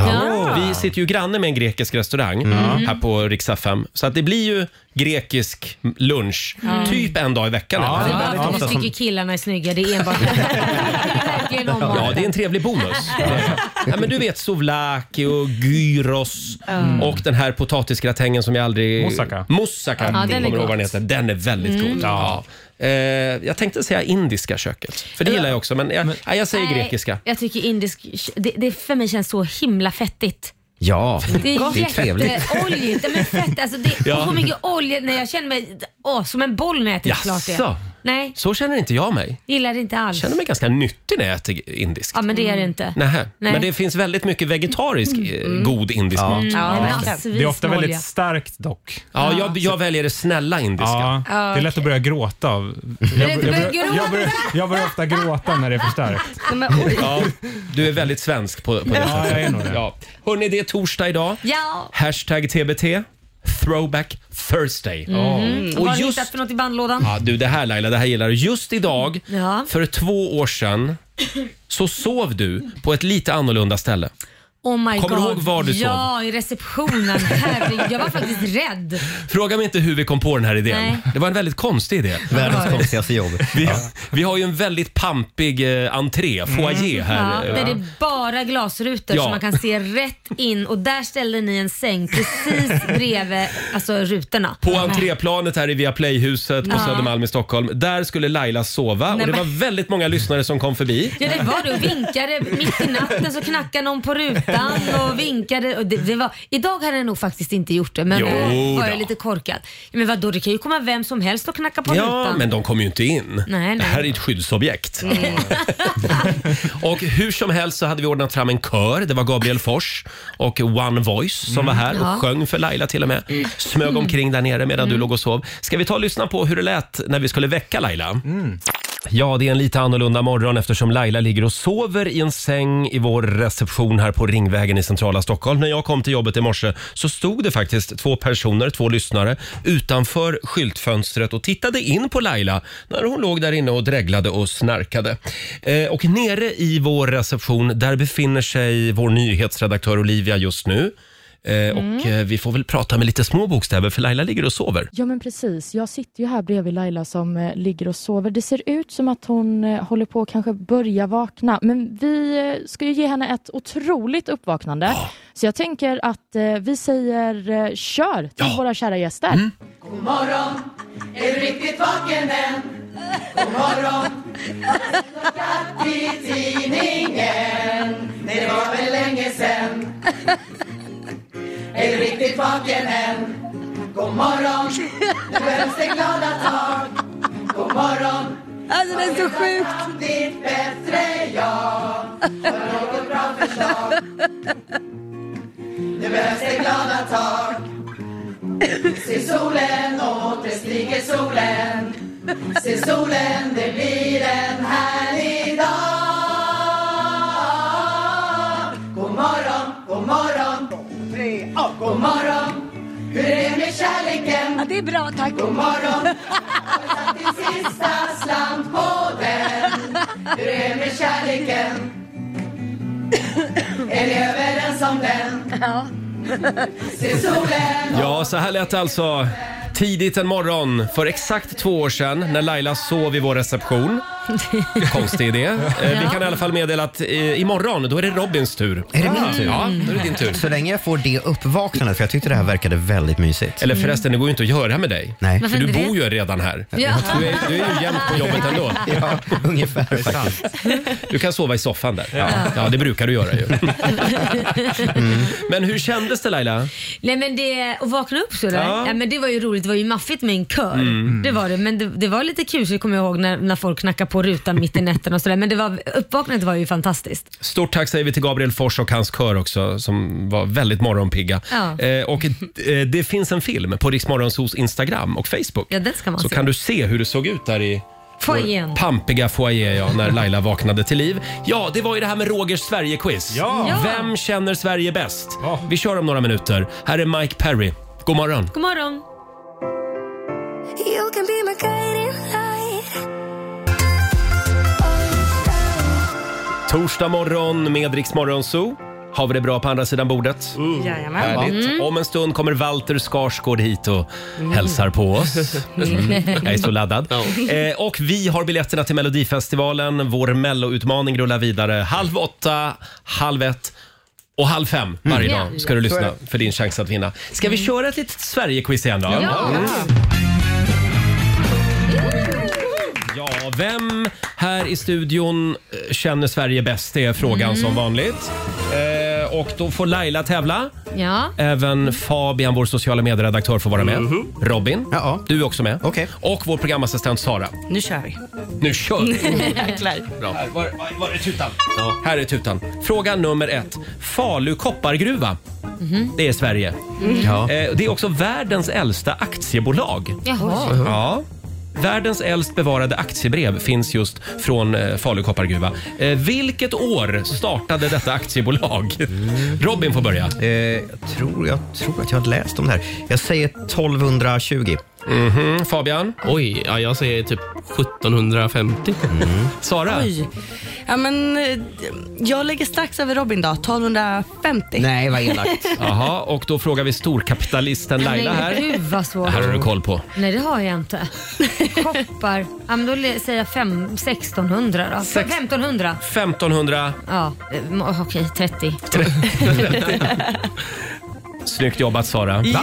Vi sitter ju granne med en grekisk restaurang Mm. här på Riksdag 5. Så att det blir ju grekisk lunch typ en dag i veckan. Ja, eller? det är Ja, väldigt Ja, du ofta som- tycker killarna är snygga, det är *laughs* enbart det. är verkligen om maten. det är en trevlig bonus. ja, men du vet souvlaki och gyros och den här potatisgratängen som jag aldrig... Moussaka. Moussaka, den är kommer du ihåg gott. Mm. vad den heter. Den är väldigt god. Ja. Eh, jag tänkte säga indiska köket, för det gillar jag också. Men jag, nej, jag säger Nej, grekiska. Jag tycker indisk, det, det för mig känns så himla fettigt. Ja, Det är, trevligt. jätteoljigt. Nej, men *laughs* fett. Alltså det är Ja. så mycket olja. Nej, jag känner mig åh, som en boll när jag äter klart Jaså? det. Nej, Så känner inte jag mig. gillar det inte alls. Jag känner mig ganska nyttig när jag äter indiskt. Ja, men det är det inte. Nähä. Nej. Men det finns väldigt mycket vegetarisk eh, god indisk mat. Ja, Nej, men verkligen. massvis Det är ofta med väldigt olja. starkt dock. Ja, jag, jag väljer det snälla indiska. Ja, det är lätt att börja gråta av. Jag, lätt att jag, börja jag, jag, börjar, jag börjar ofta gråta när det är för starkt. *laughs* Nej, men oj. Ja, du är väldigt svensk på, på det Ja, jag är nog det. Ja. Hörni, det är torsdag idag. Ja. Hashtag TBT. Throwback Thursday. Mm. Mhm. Vad har Och du just, hittat för något i bandlådan? ja, du, det här Laila, det här gillar du. Just idag, Ja. för två år sedan, så sov du på ett lite annorlunda ställe. Oh my Kommer du God. ihåg var du Ja, i receptionen. Herregud, jag var faktiskt rädd. Fråga mig inte hur vi kom på den här idén. Nej. Det var en väldigt konstig idé. Världens konstigaste jobb. Vi, vi har ju en väldigt pampig eh, entré, foyer Mm. Ja, här. eh, där det är bara glasrutor Ja. som man kan se rätt in och där ställde ni en säng precis bredvid alltså, rutorna. På entréplanet här i Viaplayhuset på Ja. Södermalm i Stockholm. Där skulle Laila sova och Nej, det men- var väldigt många lyssnare som kom förbi. Ja det var det och vinkade mitt i natten så knackade någon på rutan och vinkade. Och det, det var, idag hade jag nog faktiskt inte gjort det men Jo då var då. jag lite korkad. Men vadå det kan ju komma vem som helst och knacka på Ja, rutan. Mm. men de kom ju inte in. nej. Det här är ett skyddsobjekt. och hur som helst så hade vi ordnat fram en kör. Det var Gabriel Fors och One Voice som var här och Ja. sjöng för Laila till och med. Smög omkring där nere medan du låg och sov. Ska vi ta och lyssna på hur det lät när vi skulle väcka Laila? Mm. Ja, det är en lite annorlunda morgon eftersom Laila ligger och sover i en säng i vår reception här på Ringvägen i centrala Stockholm. När jag kom till jobbet i morse så stod det faktiskt två personer, två lyssnare, utanför skyltfönstret och tittade in på Laila när hon låg där inne och dreglade och snarkade. Eh, och nere i vår reception, där befinner sig vår nyhetsredaktör Olivia just nu. Eh, Och eh, vi får väl prata med lite små bokstäver för Laila ligger och sover. Ja men precis, jag sitter ju här bredvid Laila som eh, ligger och sover. Det ser ut som att hon eh, håller på att kanske börja vakna. Men vi eh, ska ju ge henne ett otroligt uppvaknande. Så jag tänker att eh, vi säger eh, kör till våra kära gäster. Alltså det är så sjukt. Det behövs det glada tag Se solen, åter stiger solen Se solen, det blir en härlig dag God morgon, god morgon God morgon Hur är det med kärleken? det är bra, tack God morgon Har du satt din sista slant på den? Hur är det med kärleken? Är ni överens om den? Ja. Se solen Ja, så här lät det alltså tidigt en morgon för exakt två år sedan när Laila sov i *laughs* vår reception. Konstig idé. Eh, Vi Ja. kan i alla fall meddela att eh, imorgon, då är det Robins tur. Är det min Ja, tur? Mm. Ja, då är det din tur. Så länge jag får det uppvaknandet, för jag tyckte det här verkade väldigt mysigt. Eller förresten, det går ju inte att göra med dig. Nej. För Varför du inte det? bor ju redan här. Ja. Du, är, du är ju jämt på jobbet *laughs* ändå. Ja, ungefär faktiskt. Du kan sova i soffan där. Ja, ja det brukar du *laughs* göra ju. Mm. Men hur kändes det Laila? Nej men det, att vakna upp sådär, Ja. ja. men det var ju roligt. Det var ju maffigt med en kör. Mm. Det var det. Men det, det var lite kusligt kommer jag ihåg när, när folk knackade på rutan mitt i natten och sådär. Men det var, uppvaknandet var ju fantastiskt. Stort tack säger vi till Gabriel Fors och hans kör också som var väldigt morgonpigga. Ja. Eh, och eh, det finns en film på Riksmorgonsos Instagram och Facebook. Ja, den ska man Så se. kan du se hur det såg ut där i vår Foajén. pampiga foyer ja, *laughs* när Laila vaknade till liv. Ja, det var ju det här med Rogers Sverige-quiz. Ja. Ja. Vem känner Sverige bäst? Vi kör om några minuter. Här är Mike Perry. God morgon. God morgon. You can be my guiding light Torsdag morgon med Rix Morgonzoo. Har vi det bra på andra sidan bordet? Jajamän. Härligt. Mm. Om en stund kommer Walter Skarsgård hit och Mm. hälsar på oss. *laughs* Mm. Jag är så laddad. Eh, och vi har biljetterna till Melodifestivalen. Vår melloutmaning rullar vidare halv åtta, halv ett och halv fem varje Mm. dag ska du Ja. lyssna Så är Mm. för din chans att vinna. Ska vi köra ett litet Sverige-quiz igen då? Ja. Mm. Ja, vem här i studion eh, känner Sverige bäst? Det är frågan Mm. som vanligt. Eh, och då får Laila tävla. Ja. Även Fabian, vår sociala medieredaktör, får vara med. Mhm. Robin, du är också med. Och vår programassistent Sara. Nu kör vi. Nu kör vi! *laughs* *laughs* Jäklar. Bra. Här, var, var, var är tutan? Ja. Här är tutan. Fråga nummer ett. Falu koppargruva. Det är Sverige. Mm. Ja. Eh, Det är också världens äldsta aktiebolag. Jaha. Ja. Världens äldst bevarade aktiebrev finns just från eh, Falu koppargruva. Eh, vilket år startade detta aktiebolag? Robin får börja. Eh, jag, tror, jag tror att jag har läst om det här. Jag säger 1220. Mhm, Fabian? Oj, ja, jag säger typ 1750. Mm. Sara? Oj. Ja, men, eh, jag lägger strax över Robin då, 1250. Nej, vad *laughs* elakt. Jaha, och då frågar vi storkapitalisten Laila Nej, här. Gud vad svårt. Det här har du koll på. Nej det har jag inte. Koppar. Ja, men då le- säger jag fem, 1600 då. Sex- 1500. 1500. Ja, eh, m- okej 30. *laughs* Snyggt jobbat Sara. Ja.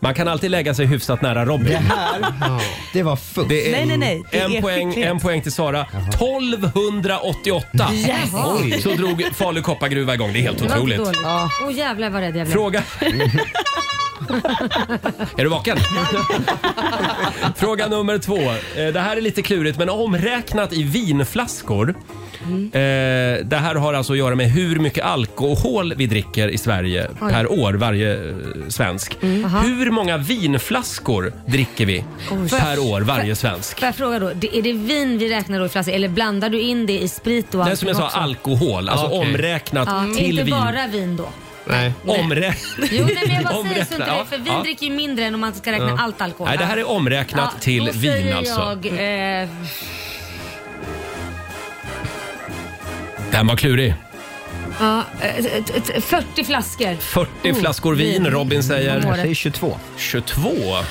Man kan alltid lägga sig hyfsat nära Robin. Det här. Det var fukt. Nej, nej, nej. Det en, är poäng, skicklighet. en poäng till Sara. 1288 Yes. Oj. så drog Falu koppargruva igång. Det är helt Det var inte otroligt. dåligt. Åh jävlar vad rädd jag blev. Fråga... Är du vaken? *laughs* Fråga nummer två. Eh, Det här är lite klurigt, men omräknat i vinflaskor. Mm. Eh, det här har alltså att göra med hur mycket alkohol vi dricker i Sverige Oj. per år, varje eh, svensk. Mm. Hur många vinflaskor dricker vi Oj. per år, varje svensk? Får jag fråga då, det- är det vin vi räknar då i flaska eller blandar du in det i sprit och Det är som jag sa, också? alkohol. Alltså Okej. omräknat Ja, till Inte vin. bara vin då. Nej. Omrä... Jo, nej, *laughs* men jag bara säger så Omräknat, inte ja, det, för vin ja. dricker ju mindre än om man ska räkna Ja. allt alkohol. Nej, det här är omräknat Ja, till då vin säger alltså. Jag, eh, Den var klurig. ja, eh, t- t- 40 flaskor. 40 flaskor vin, Robin säger... Om året. 22. 22.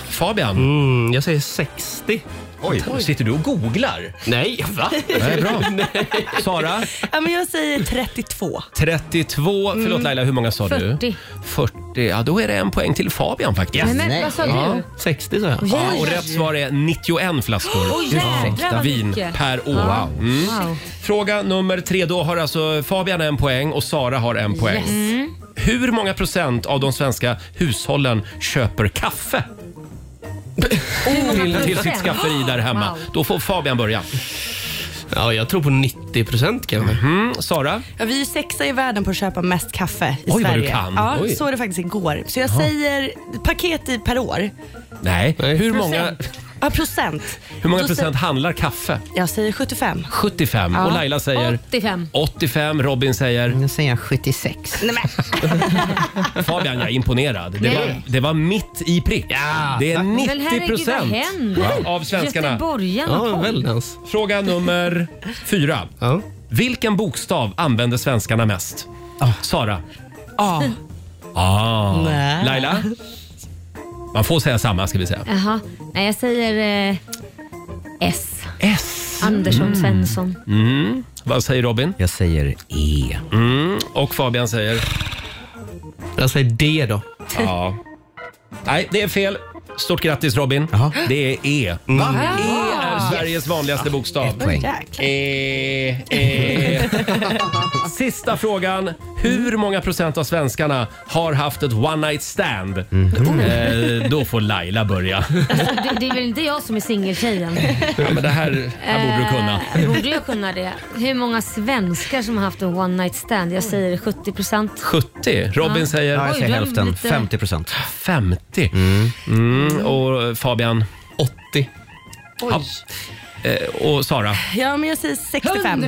Fabian? jag säger 60. Mm. Oj, sitter du och googlar? Nej, va? Nej, *laughs* bra. Sara? Ja, men jag säger 32. 32. Förlåt Mm. Laila, hur många sa du? 40. 40. Ja, då är det en poäng till Fabian faktiskt. Nej, men Nej. vad sa du? Ja, 60 sa jag. Åh, Ja, och jävlar. rätt svar är 91 flaskor Åh, jävlar, Ursäkta. vad vin mycket. per år. Ja. Mm. Wow. Fråga nummer tre. Då har alltså Fabian en poäng och Sara har en poäng. Yes. Mm. Hur många procent av de svenska hushållen köper kaffe Hur många till, till sitt procent? skafferi där hemma? Wow. Då får Fabian börja. Ja, jag tror på 90 procent kanske. Mhm. Sara? Ja, vi är ju sexa i världen på att köpa mest kaffe i Oj, vad Sverige. du kan. Ja, Oj. så är det faktiskt igår. Så jag Jaha. säger paket i per år. Nej. Hur många, Procent. Ja, procent. hur många Då procent sä- handlar kaffe? Jag säger 75. 75. Ja. Och Laila säger? 85. 85. Robin säger? Jag säger 76. Nej, men. *laughs* Fabian, jag är imponerad. Det var, Nej. det var mitt i prick. Det är Men 90 herregud, procent vad händer? av svenskarna. Göteborgarna, Ja, kom. väldans. Fråga nummer fyra. Vilken bokstav använder svenskarna mest? Sara? Ja. Ah. Nej. Laila? Man får säga samma ska vi säga. Jaha. Nej, jag säger eh, S. S. Andersson Svensson. Mm. Vad säger Robin? Jag säger E. Mm. Och Fabian säger? Jag säger D då. Ja. Nej, det är fel. Stort grattis Robin. Det är E. Va? E är Sveriges vanligaste bokstav. Mm. poäng. E, *laughs* e. Sista frågan. Hur många procent av svenskarna har haft ett one night stand? Mhm. Eh, då får *laughs* Laila börja. Alltså, det, det är väl inte jag som är singeltjejen? Ja, men det här, här borde du kunna. Eh, borde jag kunna det? Hur många svenskar som har haft en one night stand? Jag säger 70 procent. 70. Robin Ja. säger? Ja, jag säger Oj, du är hälften. lite- 50 procent. 50? Mm. Och Fabian? 80. Ja. Eh, Och Sara? Ja, men jag säger 65.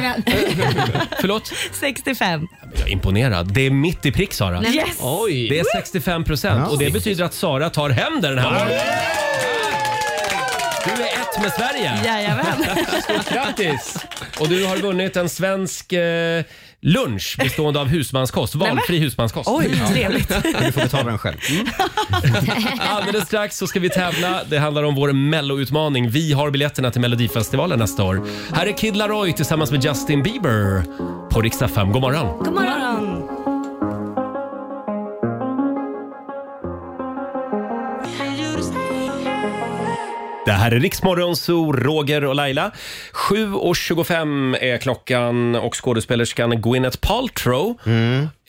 *laughs* Förlåt? 65. Jag är imponerad. Det är mitt i prick, Sara. Nej. Yes. Oj. Det är 65 procent och det betyder att Sara tar hem det den här morgonen. Du är ett med Sverige. Jajamän. Stort *laughs* grattis! Och du har vunnit en svensk eh, lunch bestående av husmanskost. Valfri husmanskost. Oj, *laughs* trevligt. Du får betala den själv. Mm. *laughs* Alldeles strax så ska vi tävla. Det handlar om vår melloutmaning. Vi har biljetterna till Melodifestivalen nästa år. Här är Kid Laroi tillsammans med Justin Bieber på riksdag 5. God morgon! God morgon. Det här är Riksmorgon, så Roger och Laila. 7.25 är klockan och skådespelerskan Gwyneth Paltrow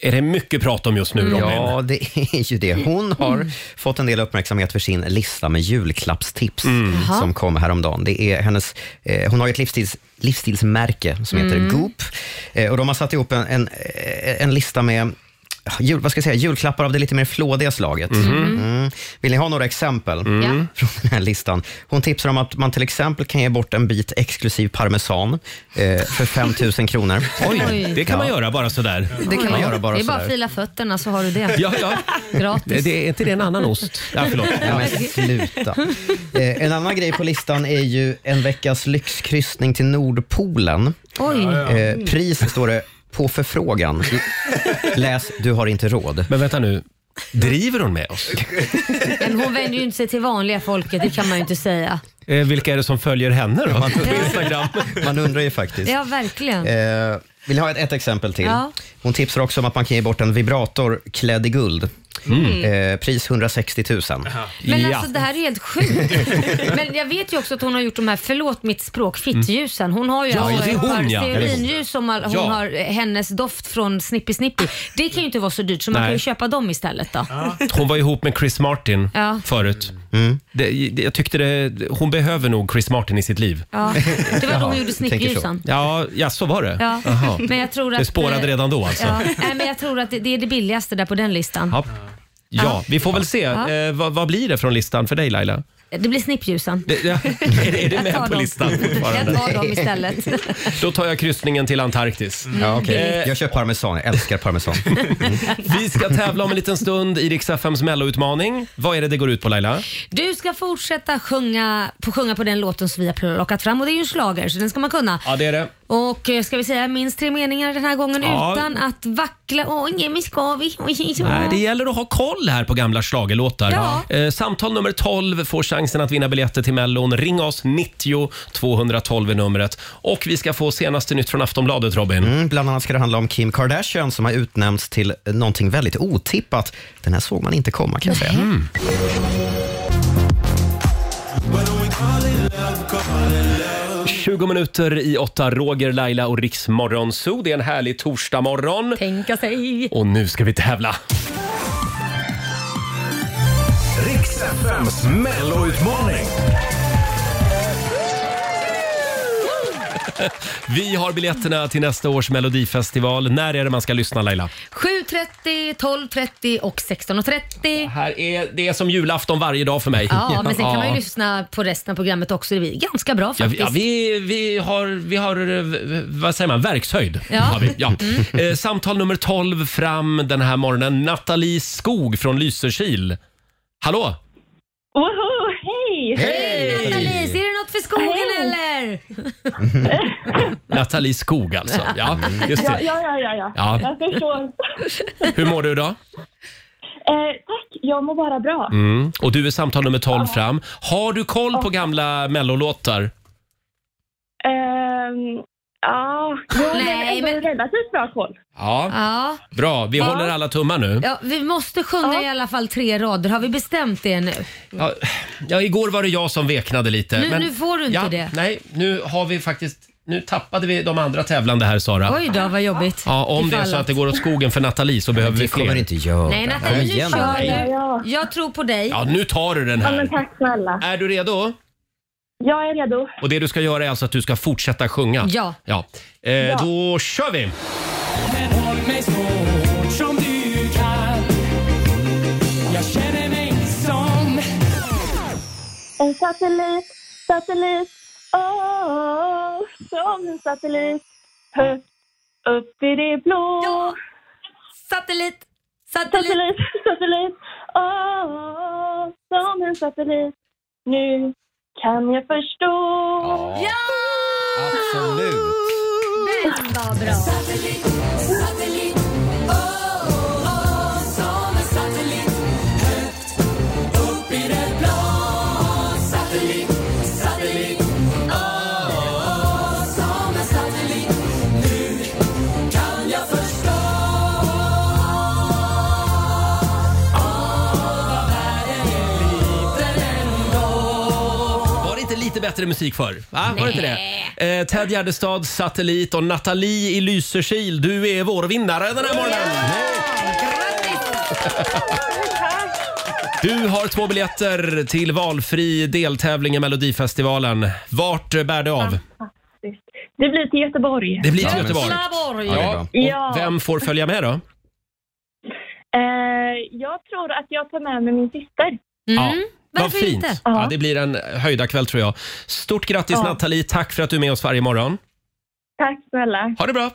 är det mycket prat om just nu, Robin. Mm. Ja, det är ju det. Hon har fått en del uppmärksamhet för sin lista med julklappstips Mm. Jaha. som kom häromdagen. Det är hennes, eh, hon har ju ett livsstils, livsstilsmärke som heter Mm. Goop eh, och de har satt ihop en, en, eh, en lista med ah, Jul, vad ska jag säga, julklappar av det lite mer flådiga slaget. Mhm. Mm. Vill ni ha några exempel Mm. Ja. från den här listan? Hon tipsar om att man till exempel kan ge bort en bit exklusiv parmesan eh, för 5 000 kronor. Oj, det kan man göra bara sådär. Det kan man göra bara Det är bara sådär. att fila fötterna så har du det. *laughs* Ja, ja. Det, Gratis. det, är inte det en annan ost? *laughs* Ja, förlåt. Nej, men sluta. Eh, en annan grej på listan är ju en veckas lyxkryssning till Nordpolen. Oj. Eh, pris står det på förfrågan. Läs, du har inte råd. Men vänta nu, driver hon med oss? Men hon vänder ju inte sig till vanliga folket, det kan man ju inte säga. Eh, vilka är det som följer henne då? Man, Man undrar ju faktiskt. Ja, verkligen. Eh, vill ni ha ett, ett exempel till? Ja. Hon tipsar också om att man kan ge bort en vibrator klädd i guld. Mm. Eh, pris 160 000. Men alltså det här är helt sjukt. *laughs* Men jag vet ju också att hon har gjort de här, förlåt mitt språk, fittljusen. Hon har ju Ja, alltså det är ett hon, par ja. stearinljus som har- hon Ja. har eh, hennes doft från Snippi Snippi. Det kan ju inte vara så dyrt så man Nej. kan ju köpa dem istället då. Hon var ihop med Chris Martin Ja. förut. Det, det, jag tyckte det, hon behöver nog Chris Martin i sitt liv. Ja. *laughs* Det var då hon gjorde snippljusen. Ja, ja, så var det? Ja. *laughs* Jaha. Men jag tror att, eh, det spårade redan då alltså? Ja. Ja. Nej, men jag tror att det, det är det billigaste där på den listan. Ja. vi får väl se. Ja. Eh, vad, vad blir det från listan för dig Laila? *laughs* Det blir snippljusen. Det, ja. är, det- är det Jag tar med på dem. listan Jag fortfarande? tar dem istället. *laughs* Då tar jag kryssningen till Antarktis. Mm. Ja, okej. Eh, Jag kör parmesan, jag älskar parmesan. *laughs* Vi ska tävla om en liten stund i Rix FMs melloutmaning. Vad är det det går ut på Laila? Du ska fortsätta sjunga på, sjunga på den låten som vi har plockat fram och det är ju en schlager så den ska man kunna. Ja, det är det. Och eh, ska vi säga minst tre meningar den här gången Ja. utan att vackla. Åh, nej, men ska vi? Oj, oj, oj. Nej, det gäller att ha koll här på gamla schlagerlåtar. Ja. Eh, samtal nummer 12 får chansen att vinna biljetter till Mellon. Ring oss, 90 212 är numret. Och vi ska få senaste nytt från Aftonbladet, Robin. Mm, bland annat ska det handla om Kim Kardashian som har utnämnts till någonting väldigt otippat. Den här såg man inte komma kan jag säga. Mm. 20 minuter i åtta, Roger, Laila och Riks Morgonzoo. Det är en härlig torsdagmorgon. Tänka sig. Och nu ska vi tävla. Riks FMs melloutmaning. Vi har biljetterna till nästa års Melodifestival. När är det man ska lyssna Laila? 7.30, 12.30 och 16.30. Här är det är som julafton varje dag för mig. Ja, men sen kan man ju Ja. lyssna på resten av programmet också. Det blir ganska bra Ja, vi, faktiskt. ja, vi, vi har, vi har eh, v- vad säger man, verkshöjd. Ja. Mm. Har vi. Ja. Eh, samtal nummer 12 fram den här morgonen. Nathalie Skog från Lysekil. Hallå! Woho, hej! Hej! Nathalie, ser du något för skogen Hej! eller? Nathalie Skog alltså. Ja, just Ja, det. ja, ja, ja, ja. Ja. Jag förstår. Hur mår du idag? *laughs* eh, tack, jag mår bara bra. Mm. Och du är samtal nummer 12 fram. Har du koll på gamla mellolåtar? Ehm, Ja, jag har Nej, ändå relativt bra koll. Ja, Ja. bra. Vi Ja. håller alla tummar nu. ja, vi måste sjunga i alla fall tre rader. Har vi bestämt det nu? Ja, ja, igår var det jag som veknade lite. Nu- nu får du inte ja, det. Nej, nu har vi faktiskt... Nu tappade vi de andra tävlande här, Sara. Oj då, vad jobbigt. Ja, om det är Ifall så att det går åt skogen för Nathalie så behöver vi Det kommer fler. det inte göra. Nej, Nathalie, Igen, nu kör Nathalie. du. Jag tror på dig. Ja, nu tar du den Ja, men här. tack snälla. Är du redo? Jag är redo. Och det du ska göra är alltså att du ska fortsätta sjunga? Ja. ja. Eh, Då kör vi! Men håll mig så hårt som du kan Jag känner mig som En satellit, satellit, oh, som en satellit. Högt upp i det blå. Ja. Satellit, satellit. Satellit, satellit, oh, som en satellit. Nu kan jag förstå. Ja! Absolut. Den var bra. Var det inte lite bättre musik förr? Va? Var det inte det? Eh, Ted Gärdestad, Satellit och Nathalie i Lysekil. Du är vår vinnare den här morgonen! Du har två biljetter till valfri deltävling i Melodifestivalen. Vart eh, bär det av? Det blir till Göteborg. Det blir Ja, till men- Göteborg. Göteborg. Ja, det är bra. Ja, Ja. och vem får följa med då? Eh, jag tror att jag tar med mig min Mm. syster. Ja. Vad Varför fint. inte? Ja, det blir en höjdarkväll tror jag. Stort grattis Nathalie, tack för att du är med oss varje morgon. Tack snälla. Ha det bra!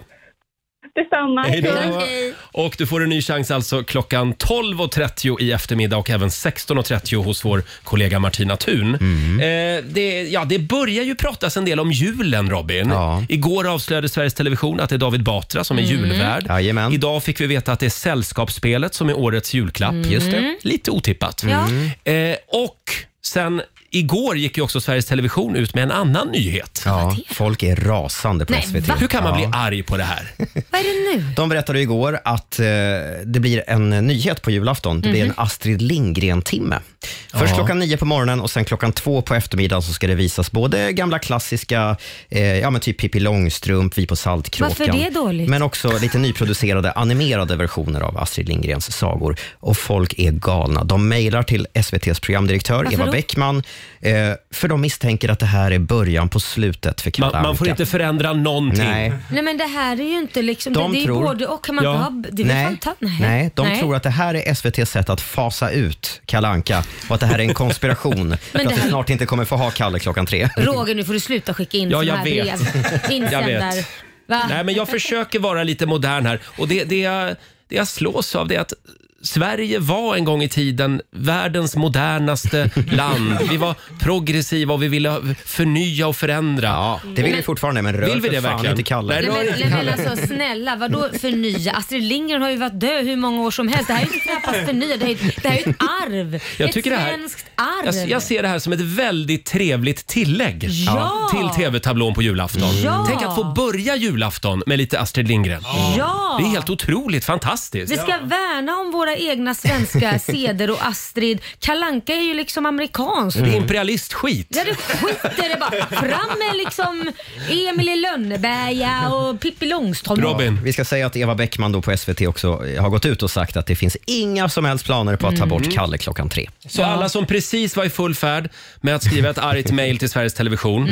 Detsamma. Hej då. Puss. Hej. Och du får en ny chans alltså klockan 12.30 i eftermiddag och även 16.30 hos vår kollega Martina Thun. Mm. Eh, det, ja, det börjar ju pratas en del om julen, Robin. Ja. Igår avslöjade Sveriges Television att det är David Batra som är julvärd. Jajamän. Idag fick vi veta att det är Sällskapsspelet som är årets julklapp. Just det. Lite otippat. Ja. Mm. Eh, och sen igår gick ju också Sveriges Television ut med en annan nyhet. Ja, folk är rasande på Nej, SVT. va? Hur kan man ja. bli arg på det här? *laughs* Vad är det nu? De berättade igår att eh, det blir en nyhet på julafton. Det blir Mhm. en Astrid Lindgren-timme. Först klockan nio på morgonen och sen klockan två på eftermiddagen så ska det visas både gamla klassiska, eh, ja men typ Pippi Långstrump, Vi på Saltkråkan. Varför är det dåligt? Men också *laughs* lite nyproducerade animerade versioner av Astrid Lindgrens sagor. Och folk är galna. De mejlar till SVTs programdirektör Varför Eva då? Bäckman, eh, för de misstänker att det här är början på slutet för Kalle Man, man får Anka. inte förändra någonting. Nej. Nej men det här är ju inte liksom, De det, det är tror- både och. Kan man inte Ja. ha, det är väl fanta- nej, nej, de Nej. tror att det här är SVTs sätt att fasa ut Kalle Anka och att det här är *laughs* en konspiration. för det att vi här- snart inte kommer få ha Kalle klockan tre. Roger, nu får du sluta skicka in Ja, såna *laughs* jag här vet. brev. Jag Insändare. vet. Va? Nej, men jag försöker vara lite modern här. Och det, det, jag, det jag slås av det är att Sverige var en gång i tiden världens modernaste land. Vi var progressiva och vi ville förnya och förändra. Ja, det vill vi fortfarande, men rör Vill vi för det fan verkligen? inte Kalle. Nej, Nej, rör men, inte nej, men alltså snälla, vadå förnya? Astrid Lindgren har ju varit död hur många år som helst. Det här är ju inte knappast förnya, det här är ju det här är ju ett arv. *laughs* Jag ett tycker det här- svenskt arv. Jag, jag ser det här som ett väldigt trevligt tillägg Ja. till tv-tablån på julafton. Ja. Tänk att få börja julafton med lite Astrid Lindgren. Ja! Det är helt otroligt fantastiskt. Vi ska värna om våra egna *laughs* svenska seder och Astrid. Kalanka är ju liksom amerikansk. Det är imperialistskit. Ja, det skiter det bara. Fram med liksom Emil i Lönneberga och Pippi Långstrump. Robin. Vi ska säga att Eva Bäckman då på SVT också eh, har gått ut och sagt att det finns inga som helst planer på att ta Mm. bort Kalle klockan tre. Så alla som precis var i full färd med att skriva ett argt mejl till Sveriges Television,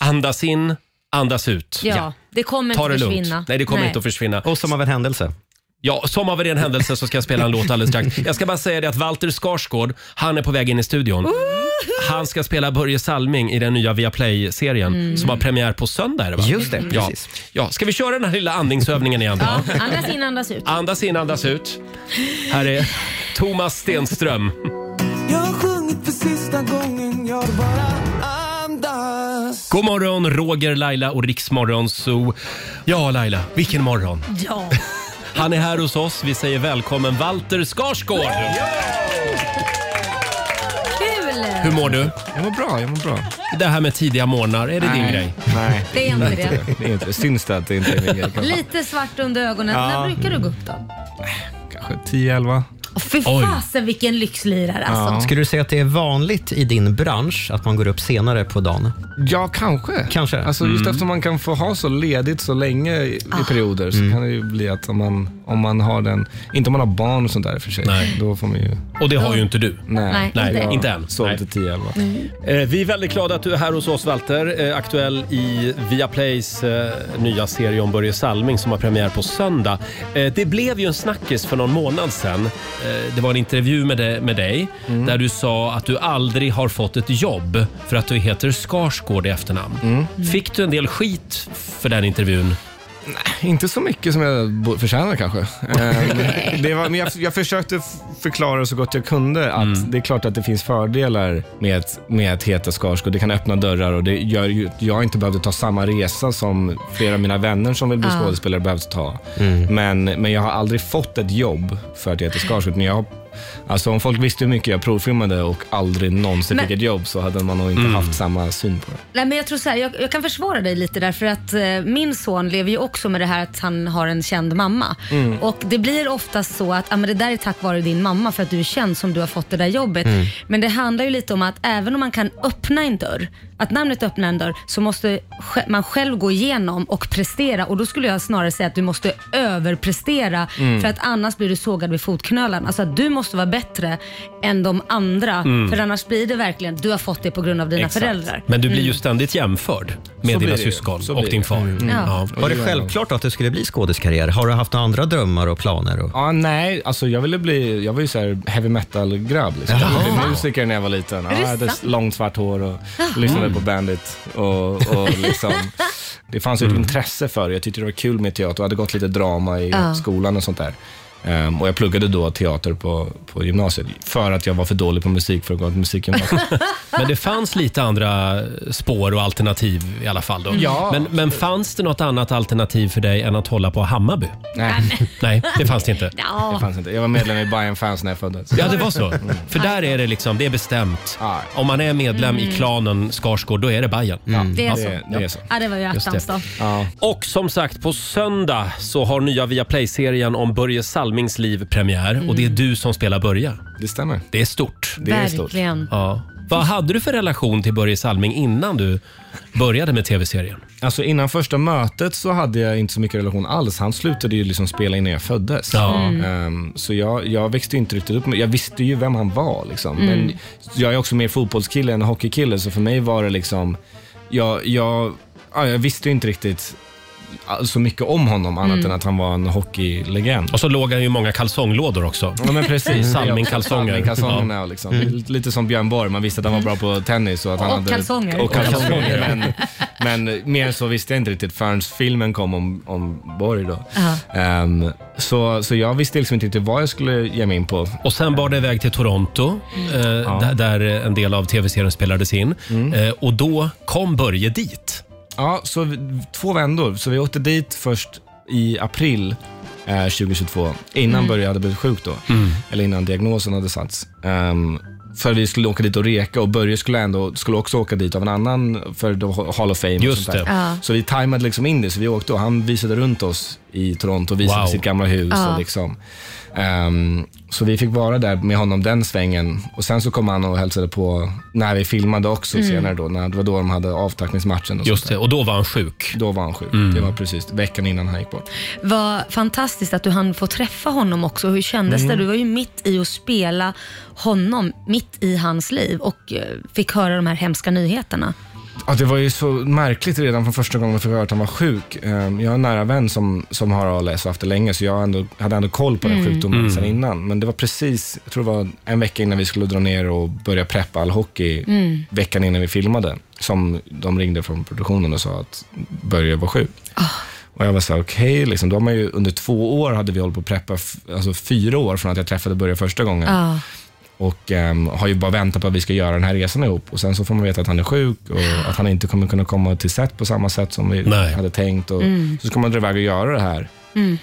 andas in, Andas ut. Mm. Ja, det kommer Ta inte det försvinna. lugnt. Nej, det kommer inte att försvinna. Och som av en händelse. Ja, som av en ren händelse så ska jag spela en låt alldeles strax. Jag ska bara säga det att Walter Skarsgård, han är på väg in i studion. Han ska spela Börje Salming i den nya Viaplay-serien Mm. som har premiär på söndag. är Det, va? Just det, ja. precis. Ja. Ska vi köra den här lilla andningsövningen igen? Då? Andas in, andas ut. Andas in, andas ut. Här är Thomas Stenström. Jag har sjungit för sista gången, jag bara andas God morgon, Roger, Laila och Riksmorgon Zoo. Ja, Laila, vilken morgon. Ja. Han är här hos oss. Vi säger välkommen Walter Skarsgård. Kul! Hur mår du? Jag mår bra, jag mår bra. Det här med tidiga morgnar, är det din Nej. grej? Nej. Det är inte det. *laughs* det är inte, syns det att det inte är *laughs* min grej? kanske? Lite svart under ögonen. Ja. När brukar du gå upp då? Kanske 10-11. Åh, Fy fasen vilken lyxlirare alltså. Skulle du säga att det är vanligt i din bransch att man går upp senare på dagen? Ja, kanske. Kanske. Alltså, Mm. just eftersom man kan få ha så ledigt så länge i, Ah. i perioder Mm. så kan det ju bli att om man, om man har den, inte om man har barn och sånt där i och för sig, då får man ju... Och det har ju inte du. Nej, Nej, inte än. inte än. Jag Sov till 10-11. Eh, Vi är väldigt glada att du är här hos oss Walter, eh, aktuell i Viaplays eh, nya serie om Börje Salming som har premiär på söndag. Eh, Det blev ju en snackis för någon månad sedan. Eh, Det var en intervju med, dig- med dig Mm. där du sa att du aldrig har fått ett jobb för att du heter Skarsgård i efternamn. Mm. Mm. Fick du en del skit för den intervjun? Inte så mycket som jag bo- förtjänar *laughs* kanske. Ehm, det var, men jag, jag försökte f- förklara så gott jag kunde att det är klart att det finns fördelar med, ett- med att heta Skarsgård. Det kan öppna dörrar och det gör ju att jag inte behövde ta samma resa som flera av mina vänner som vill bli Ja. skådespelare behövde ta. Men, men jag har aldrig fått ett jobb för att jag heter Skarsgård. Men jag, har- alltså om folk visste hur mycket jag provfilmade och aldrig någonsin Men- fick ett jobb så hade man nog inte haft samma syn på det. Nej, men jag, tror så här, jag, jag kan försvara dig lite därför att eh, min son lever ju också med det här att han har en känd mamma. Mm. Och Det blir oftast så att ah, men det där är tack vare din mamma för att du är känd som du har fått det där jobbet. Mm. Men det handlar ju lite om att även om man kan öppna en dörr, att namnet öppnar en dörr, så måste sj- man själv gå igenom och prestera. Och Då skulle jag snarare säga att du måste överprestera Mm. för att annars blir du sågad vid fotknölen. Alltså att du måste vara bättre än de andra Mm. för annars blir det verkligen, du har fått det på grund av dina föräldrar. Men du blir Mm. ju ständigt jämförd med Så blir dina det ju. syskon Så och blir din det. far. Mm. Ja. Var det självklart att det skulle bli skådiskarriär? Har du haft några andra drömmar och planer? Och... Ja, nej, alltså jag ville bli, jag var ju så här heavy metal-grabb. Liksom. Jag ville bli musiker när jag var liten. Ja, Är det jag hade sant? långt svart hår och lyssnade Mm. på Bandit. Och, och liksom, det fanns ju ett Mm. intresse för det. Jag tyckte det var kul med teater och hade gått lite drama i Ja. skolan och sånt där. Ehm, och jag pluggade då teater på, på gymnasiet för att jag var för dålig på musik för att gå till musikgymnasiet. *laughs* Men det fanns lite andra spår och alternativ i alla fall. Då. Mm. Ja. Men, men fanns det något annat alternativ för dig än att hålla på Hammarby? Nej. *laughs* Nej, det fanns det inte. Ja. Det fanns inte. Jag var medlem i Bayern Fans när jag föddes. Mm. Ja, det var så. För där är det liksom, det är bestämt. Om man är medlem i Mm. klanen Skarsgård, då är det Bajen. Det är Ja. så. det är så. Ja, det var ju Just attans det. då. Och som sagt, på söndag så har nya Viaplay-serien om Börje Salmings liv premiär och det är du som spelar Börje. Det stämmer. Det är stort. Det är stort. Verkligen. Ja. Vad hade du för relation till Börje Salming innan du började med tv-serien? Alltså innan första mötet så hade jag inte så mycket relation alls. Han slutade ju liksom spela innan jag föddes. Ja. Mm. Ehm, så jag, jag växte ju inte riktigt upp med, Jag visste ju vem han var. Liksom. Mm. Men jag är också mer fotbollskille än hockeykille, så för mig var det liksom... Jag, jag, ja, jag visste ju inte riktigt all- så mycket om honom annat Mm. än att han var en hockeylegend. Och så låg han ju i många kalsonglådor också. Ja, men *laughs* precis. Salming-kalsonger. Salmingkalsongerna, Ja. liksom. Lite som Björn Borg, man visste att han var bra på tennis. Och, att han Och hade, kalsonger. Och Kalsonger. kalsonger. men, men mer än så visste jag inte riktigt förrän filmen kom om, om Borg. Då. Ehm, så, så jag visste liksom inte riktigt vad jag skulle ge mig in på. Och sen bar det iväg till Toronto, eh, där, där en del av tv-serien spelades in. Eh, och då kom Börje dit. Mm. Ja, så vi, två vändor. Så vi åkte dit först i april eh, 2022, innan Mm. Börje hade blivit sjuk då. Mm. Eller innan diagnosen hade satts. Ehm, för vi skulle åka dit och reka och Börje skulle, ändå, skulle också åka dit av en annan för då Hall of Fame. Just och sånt där. det. Ja. Så vi tajmade liksom in det, så vi åkte och han visade runt oss i Toronto, visade Wow. sitt gamla hus. Ja. Och liksom. Ehm, så vi fick vara där med honom den svängen och sen så kom han och hälsade på när vi filmade också Mm. senare då, när det var då de hade avtackningsmatchen. Och Just det, och då var han sjuk. Mm. Då var han sjuk. Det var precis veckan innan han gick bort. Vad fantastiskt att du hann få träffa honom också. Hur kändes Mm. det? Du var ju mitt i att spela honom, mitt i hans liv och eh, fick höra de här hemska nyheterna. Ja, det var ju så märkligt redan från första gången jag fick höra att han var sjuk. Ehm, Jag har en nära vän som, som har ALS och haft det länge, så jag ändå, hade ändå koll på den Mm. sjukdomen Mm. sedan innan. Men det var precis, jag tror det var en vecka innan vi skulle dra ner och börja preppa all hockey, Mm. veckan innan vi filmade, som de ringde från produktionen och sa att Börje var sjuk. Ah. Och jag var så här, okej, liksom, då har man ju, under två år hade vi hållit på att preppa, f- alltså fyra år från att jag träffade Börje första gången Ah. Ja. och ehm, har ju bara väntat på att vi ska göra den här resan ihop. Och Sen så får man veta att han är sjuk och att han inte kommer kunna komma till set på samma sätt som vi hade tänkt. Och Mm. Så ska man dra iväg och göra det här. Mm.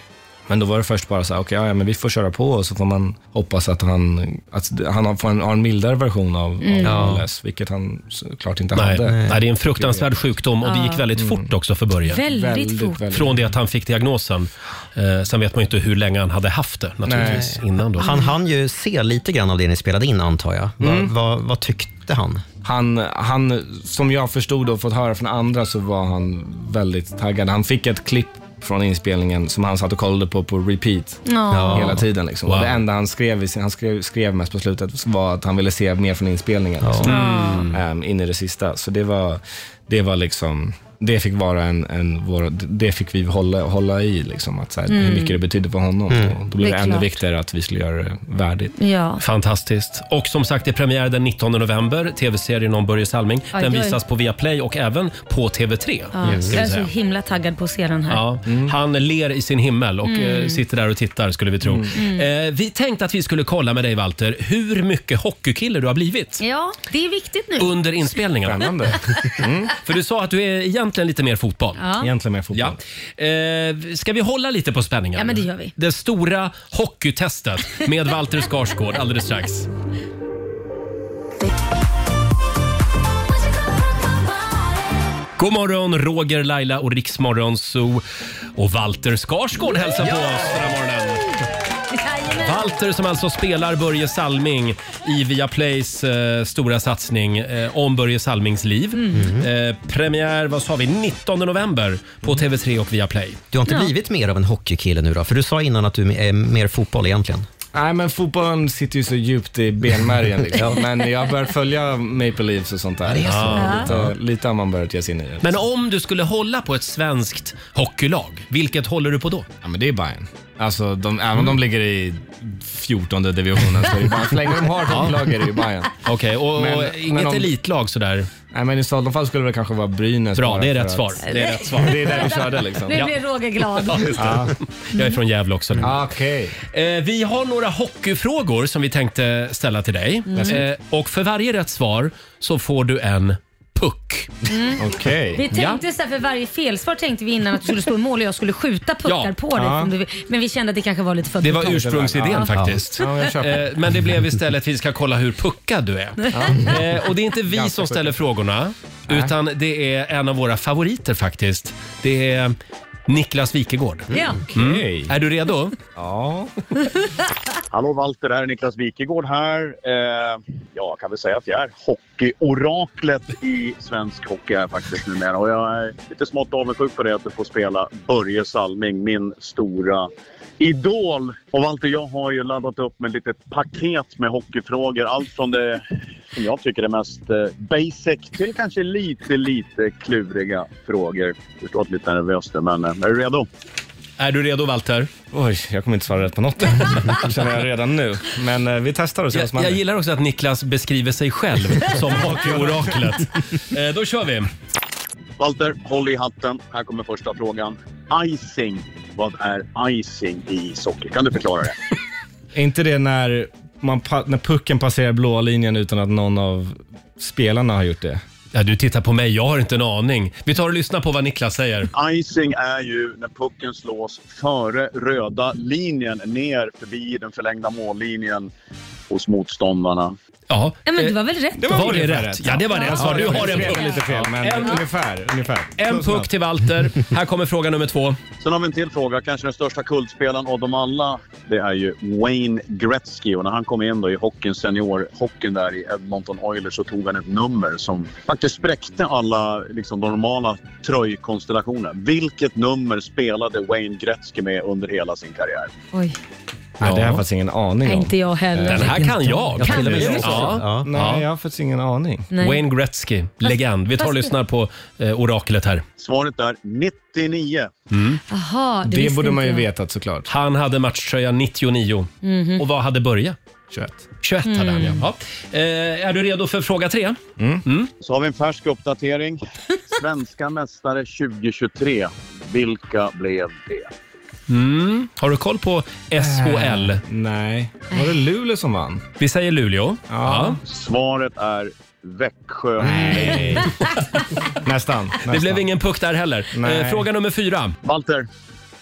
Men då var det först bara så här, okej, ja, ja, men vi får köra på och så får man hoppas att han, att han har- får en, har en mildare version av, Mm. av Ja. ALS, vilket han såklart inte Nej. hade. Mm. Nej. det är en fruktansvärd sjukdom och det Ja. gick väldigt fort också för Börje. Väldigt Väldigt, fort. väldigt. Från det att han fick diagnosen. Eh, sen vet man ju inte hur länge han hade haft det naturligtvis. Innan då. Han hann ju se lite grann av det ni spelade in antar jag. Va- Mm. va- Vad tyckte han? Han, han, som jag förstod och fått höra från andra så var han väldigt taggad. Han fick ett klipp från inspelningen som han satt och kollade på på repeat Ja. hela tiden. Liksom. Wow. Och det enda han skrev, i sin- han skrev, skrev mest på slutet var att han ville se mer från inspelningen. Liksom. Ja. Mm. Ehm, in i det sista. Så det var, det var liksom, det fick vara en, en vår, det fick vi hålla, hålla i, liksom, att, så här, Mm. hur mycket det betydde för honom. Mm. Och då blev Det det, är ännu klart. viktigare att vi skulle göra det värdigt. Ja. Fantastiskt. Och som sagt, det är premiär den 19 november, tv-serien om Börje Salming. Aj, Den oj. visas på Viaplay och även på TV3. Ja. Alltså, ska vi Jag är så säga. himla taggad på att se den här. Ja, Han ler i sin himmel och Mm. eh, sitter där och tittar skulle vi tro. Eh, vi tänkte att vi skulle kolla med dig Walter, hur mycket hockeykille du har blivit. Ja, det är viktigt nu. Under inspelningen. Spännande. Mm. *laughs* För du sa att du är egentligen lite mer fotboll. Ja. Egentligen mer fotboll. Ja. Eh, ska vi hålla lite på spänningen? Ja, men det gör vi. Det stora hockeytestet med Walter Skarsgård alldeles strax. God morgon, Roger, Laila och Riksmorgon Zoo. Och Walter Skarsgård hälsar på oss den här morgonen. Walter som alltså spelar Börje Salming i Viaplays eh, stora satsning eh, om Börje Salmings liv. Eh, premiär, vad sa vi, 19 november på TV3 och Viaplay. Du har inte Ja. blivit mer av en hockeykille nu då? För du sa innan att du är mer fotboll egentligen. Nej, men fotbollen sitter ju så djupt i *laughs* benmärgen. Liksom. Men jag har börjat följa Maple Leafs och sånt där. det är så. Ja, Ja. Lite, lite har man börjat ge sig in i det. Men om du skulle hålla på ett svenskt hockeylag, vilket håller du på då? Ja, men det är Bayern. Alltså, de, även om de ligger i 14 divisionen så är det bara, så länge de har ett Ja. hockeylag är det ju Bayern. Okej, och, och inget elitlag sådär? Nej, men i sådana fall skulle det kanske vara Brynäs. Bra, bara det är för rätt svar. Det är rätt svar. *laughs* det är där vi körde liksom. Nu blir Roger glad. Ja, just det. Ja. Jag är från Gävle också nu. Ah, Okej. Eh, vi har några hockeyfrågor som vi tänkte ställa till dig. Mm. Eh, och för varje rätt svar så får du en puck. Mm. Okej. Vi tänkte så här, för varje felsvar tänkte vi innan att du skulle stå i mål och jag skulle skjuta puckar på Ja. dig. Ja. om du vill. Men vi kände att det kanske var lite för Det var brutalt. ursprungsidén Ja. faktiskt. Ja, jag köper. Eh, Men det blev istället vi ska kolla hur puckad du är. Ja. Eh, Och det är inte vi Ganska som ställer frågorna, utan det är en av våra favoriter faktiskt. Det är Niklas Wikegård. Mm. Ja. Mm. Är du redo? Ja. Hallå Walter, det här är Niklas Wikegård här. Eh, ja, kan väl säga att jag är hockeyoraklet i svensk hockey här faktiskt numera. Och jag är lite smått avundsjuk på det att du får spela Börje Salming, min stora idol. Och Walter, jag har ju laddat upp med lite paket med hockeyfrågor. Allt från det som jag tycker är mest eh, basic till kanske lite, lite kluriga frågor. Jag förstår att du är lite nervös där, men eh, är du redo? Är du redo Walter? Oj, jag kommer inte svara rätt på *laughs* något. Det känner jag redan nu. Men eh, vi testar och ser vad som Jag, jag händer. gillar också att Niklas beskriver sig själv som hockeyoraklet. Eh, Då kör vi. Walter, håll i hatten. Här kommer första frågan. Icing. Vad är icing i ishockey? Kan du förklara det? Är *laughs* inte det när, man, pa- när pucken passerar blåa linjen utan att någon av spelarna har gjort det? Ja, du tittar på mig. Jag har inte en aning. Vi tar och lyssnar på vad Niklas säger. Icing är ju när pucken slås före röda linjen ner förbi den förlängda mållinjen hos motståndarna. Ja, Ja, men det var väl rätt? då? var det rätt? Ja, det var rätt svar. Du har en puck. Lite fel, men En- ungefär. ungefär. En puck till Walter. Här kommer fråga nummer två. Sen har vi en till fråga. Kanske den största kultspelaren av dem alla. Det är ju Wayne Gretzky. Och när han kom in då i hockeyn, seniorhockeyn där i Edmonton Oilers så tog han ett nummer som faktiskt spräckte alla liksom, de normala tröjkonstellationerna. Vilket nummer spelade Wayne Gretzky med under hela sin karriär? Oj. Nej, det har jag faktiskt ingen aning om. Nej, inte jag heller. Den här kan jag. Ja, till och med Ja. jag. Ja. Nej, jag har faktiskt ingen aning. Nej. Wayne Gretzky, legend. Vi tar och fast- lyssnar på eh, oraklet här. Mm. Svaret är 99. Jaha, det, visste inte jag. vetat såklart. Han hade matchtröja 99. Mhm. Och vad hade Börje? 21. 21 hade han, ja. Mm. ja. Eh, är du redo för fråga tre? Mm. Mm. Så har vi en färsk uppdatering. *laughs* Svenska mästare 2023. Vilka blev det? Mm. Har du koll på Eh, SHL? nej. Var det Luleå som vann? Vi säger Luleå. Ja. Svaret är Växjö. Nästan. Det blev ingen puck där heller. Nej. Eh, fråga nummer fyra. Walter,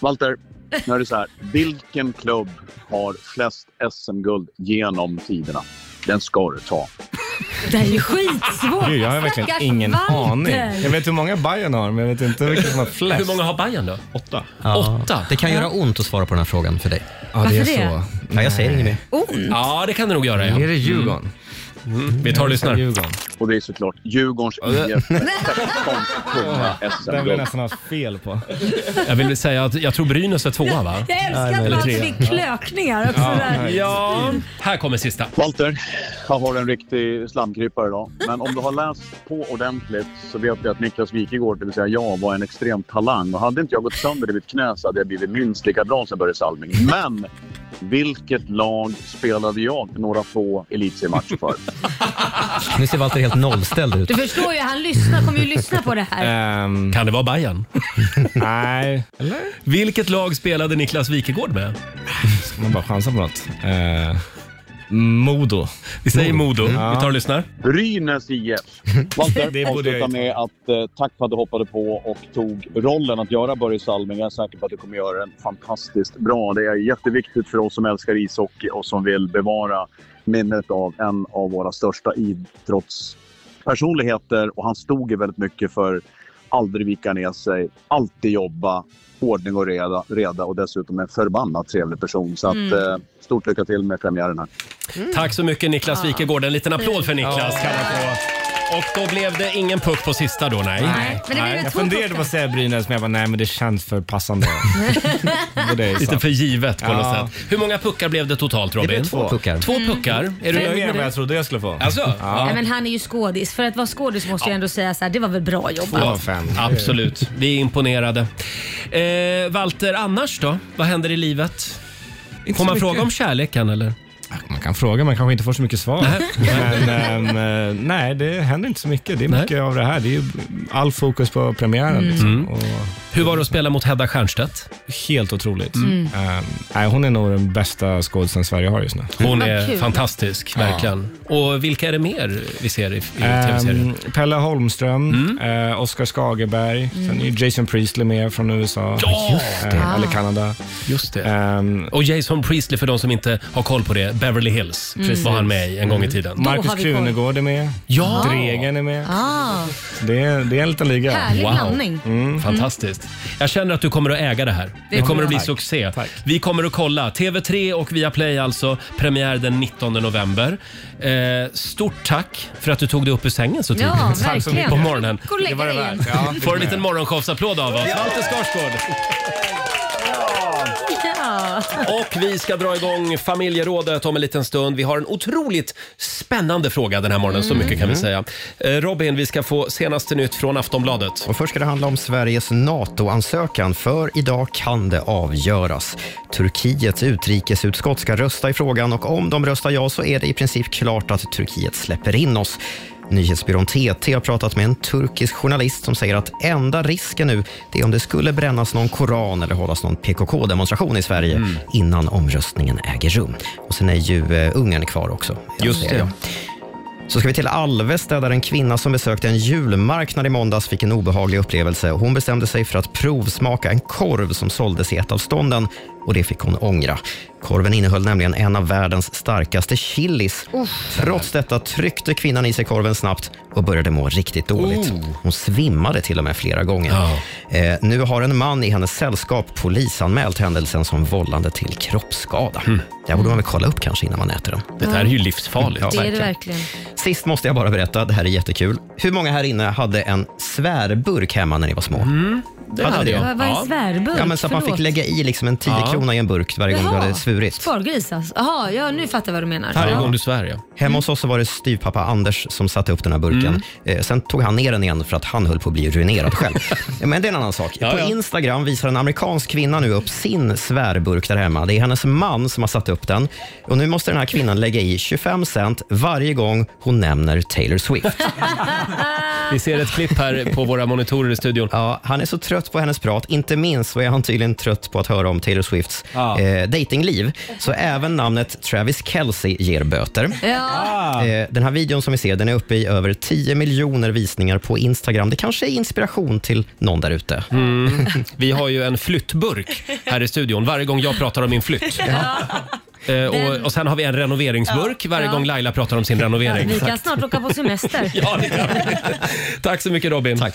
Walter, nu är det så här. Vilken klubb har flest SM-guld genom tiderna? Den ska du ta. Det här är ju skitsvårt. Gud, jag har verkligen Stackars ingen Walter. aning. Jag vet hur många Bayern har, men jag vet inte vilka som har flest. Hur många har Bayern då? Åtta. Åtta. Det kan göra ont att svara på den här frågan för dig. Ja, det är Varför det? så. Ja, jag säger inget mer. Oh. Ja, det kan det nog göra. Ja. Är det Djurgården? Mm. Vi tar och lyssnar. Och det är såklart Djurgårdens IF. 16 tunga Den vill jag SM-guld. nästan ha fel på. Mm. Jag vill säga att jag tror Brynäs är tvåa, va? *laughs* Jag älskar att Eller man trea. fick klökningar också. där. ja, här kommer sista. Walter, jag har en riktig slamkrypare idag. Men om du har läst på ordentligt så vet jag att Niklas Wikegård, det vill säga jag, var en extrem talang. Och hade inte jag gått sönder i mitt knä så hade jag blivit minst lika bra som Börje Salming. Men vilket lag spelade jag några få elitseriematcher för? Nu ser Walter helt nollställd ut. Du förstår ju, han lyssnar, kommer ju lyssna på det här. Ehm. Kan det *laughs* vara Bayern? Nej. Vilket lag spelade Niklas Wikegård med? Ska man bara chansa på något? Eh, Modo. Vi säger Modo. Vi tar och lyssnar. Brynäs IF. Walter, Mm. *laughs* Det borde jag avsluta med att eh, tack för att du hoppade på och tog rollen att göra Börje Salming. Jag är säker på att du kommer göra den fantastiskt bra. Det är jätteviktigt för oss som älskar ishockey och som vill bevara minnet av en av våra största idrottspersonligheter. Och han stod ju väldigt mycket för aldrig vika ner sig, alltid jobba, ordning och reda, reda och dessutom en förbannat trevlig person. Så att, Mm. eh, stort lycka till med premiären här. Mm. Tack så mycket Niklas Ja. Wikegård. En liten applåd för Niklas kan han få. Och då blev det ingen puck på sista då, nej. Nej, men det blev jag två funderade på att säga Brynäs, men jag bara, nej men det känns *laughs* för passande. Och det är Lite sant. för givet på Ja. något sätt. Hur många puckar blev det totalt Robin? blev två puckar. Mm. Två puckar. Är du Det är nöjd mer med än vad det? jag trodde jag skulle få. Alltså? Ja. Nej, men han är ju skådis. För att vara skådis måste jag ändå säga så här, det var väl bra jobbat. Ja, Absolut. Vi är imponerade. Eh, Walter, annars då? Vad händer i livet? Inte Får så man mycket. fråga om kärleken eller? Man kan fråga, man kanske inte får så mycket svar. Nej. Men ehm, eh, nej, det händer inte så mycket. Det är mycket av det här. Det är ju all fokus på premiären. Mm. Liksom. Mm. Hur var det att spela mot Hedda Stiernstedt? Helt otroligt. Mm. Ehm, nej, hon är nog den bästa skådisen Sverige har just nu. Hon är fantastisk, Ja. verkligen. Och vilka är det mer vi ser i, i tv-serien? Mm. Ehm, Pelle Holmström, eh, Oscar Skagerberg, sen är ju Jason Priestley med från USA. Eh, eller Kanada. Ehm, Just det. och Jason Priestley, för de som inte har koll på det, Beverly Hills Precis. var han med i en gång i Mm. tiden. Marcus Krunegård är med. Ja. Dregen är med. Ah, Det är, det är en liten liga. Härlig Wow. blandning. Mm. Fantastiskt. Jag känner att du kommer att äga det här. Det, tror kommer jag. att bli Tack. succé. Vi kommer att kolla. TV3 och Viaplay alltså. Premiär den 19 november. Eh, stort tack för att du tog dig upp ur sängen så tidigt. Ja, Tack så verkligen. mycket. På morgonen. Gå och lägg Det var det dig värt. igen. Ja, det Får en är liten morgonshowsapplåd av oss. Walter Skarsgård. ja. Och vi ska dra igång familjerådet om en liten stund. Vi har en otroligt spännande fråga den här morgonen, Mm. så mycket kan vi säga. Eh, Robin, vi ska få senaste nytt från Aftonbladet. Och först ska det handla om Sveriges NATO-ansökan, för idag kan det avgöras. Turkiets utrikesutskott ska rösta i frågan och om de röstar ja så är det i princip klart att Turkiet släpper in oss. Nyhetsbyrån TT har pratat med en turkisk journalist som säger att enda risken nu det är om det skulle brännas någon koran eller hållas någon PKK-demonstration i Sverige Mm. innan omröstningen äger rum. Och sen är ju eh, Ungern kvar också. Just det. Så ska vi till Alvesta där en kvinna som besökte en julmarknad i måndags fick en obehaglig upplevelse. Hon bestämde sig för att provsmaka en korv som såldes i ett av stånden och det fick hon ångra. Korven innehöll nämligen en av världens starkaste chilis. Trots detta tryckte kvinnan i sig korven snabbt och började må riktigt dåligt. Oh. Hon svimmade till och med flera gånger. Eh, nu har en man i hennes sällskap polisanmält händelsen som vållande till kroppsskada. Det här borde man väl kolla upp kanske innan man äter den. Mm. Det här är ju livsfarligt. det är det verkligen. Sist måste jag bara berätta, det här är jättekul. Hur många här inne hade en svärburk hemma när ni var små? det hade jag. Vad- vad är svärburk? Ja, men så att man Förlåt. fick lägga i liksom en 10 Ja. krona i en burk varje gång Jaha. du hade svurit. Spargris alltså. Jaha, ja, nu fattar jag vad du menar. Ja. Mm. du svär, ja. Hemma hos oss så var det styvpappa Anders som satte upp den här burken. Mm. Eh, sen tog han ner den igen för att han höll på att bli ruinerad själv. Eh, Men det är en annan sak. Ja, på ja. Instagram visar en amerikansk kvinna nu upp sin svärburk där hemma. Det är hennes man som har satt upp den. Och nu måste den här kvinnan lägga i 25 cent varje gång hon nämner Taylor Swift. Vi ser ett klipp här på våra monitorer i studion. Ja, han är så trött på hennes prat. Inte minst så är han tydligen trött på att höra om Taylor Swifts eh, datingliv. Så även namnet Travis Kelce ger böter. Ja. Eh, Den här videon som vi ser den är uppe i över 10 miljoner visningar på Instagram. Det kanske är inspiration till någon där ute. Mm. Vi har ju en flyttburk här i studion varje gång jag pratar om min flytt. Eh, och, och sen har vi en renoveringsburk varje Ja. gång Laila pratar om sin renovering. Vi kan snart åka på semester. Ja, det kan vi. Tack så mycket Robin. Tack.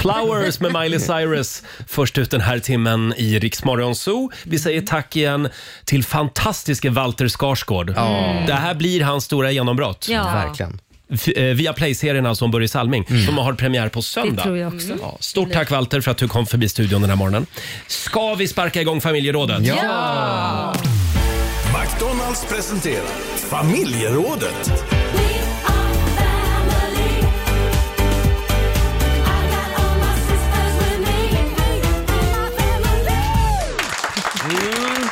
Flowers med Miley Cyrus först ut den här timmen i Riksmorgon Zoo. Vi säger tack igen till fantastiske Walter Skarsgård. Ja. Det här blir hans stora genombrott. Ja. Verkligen. F- eh, Via Play-serien alltså om Börje Salming som har premiär på söndag. Mm. Det tror jag också. Ja, Stort tack Walter för att du kom förbi studion den här morgonen. Ska vi sparka igång familjerådet? Ja! McDonalds presenterar familjerådet. Mm.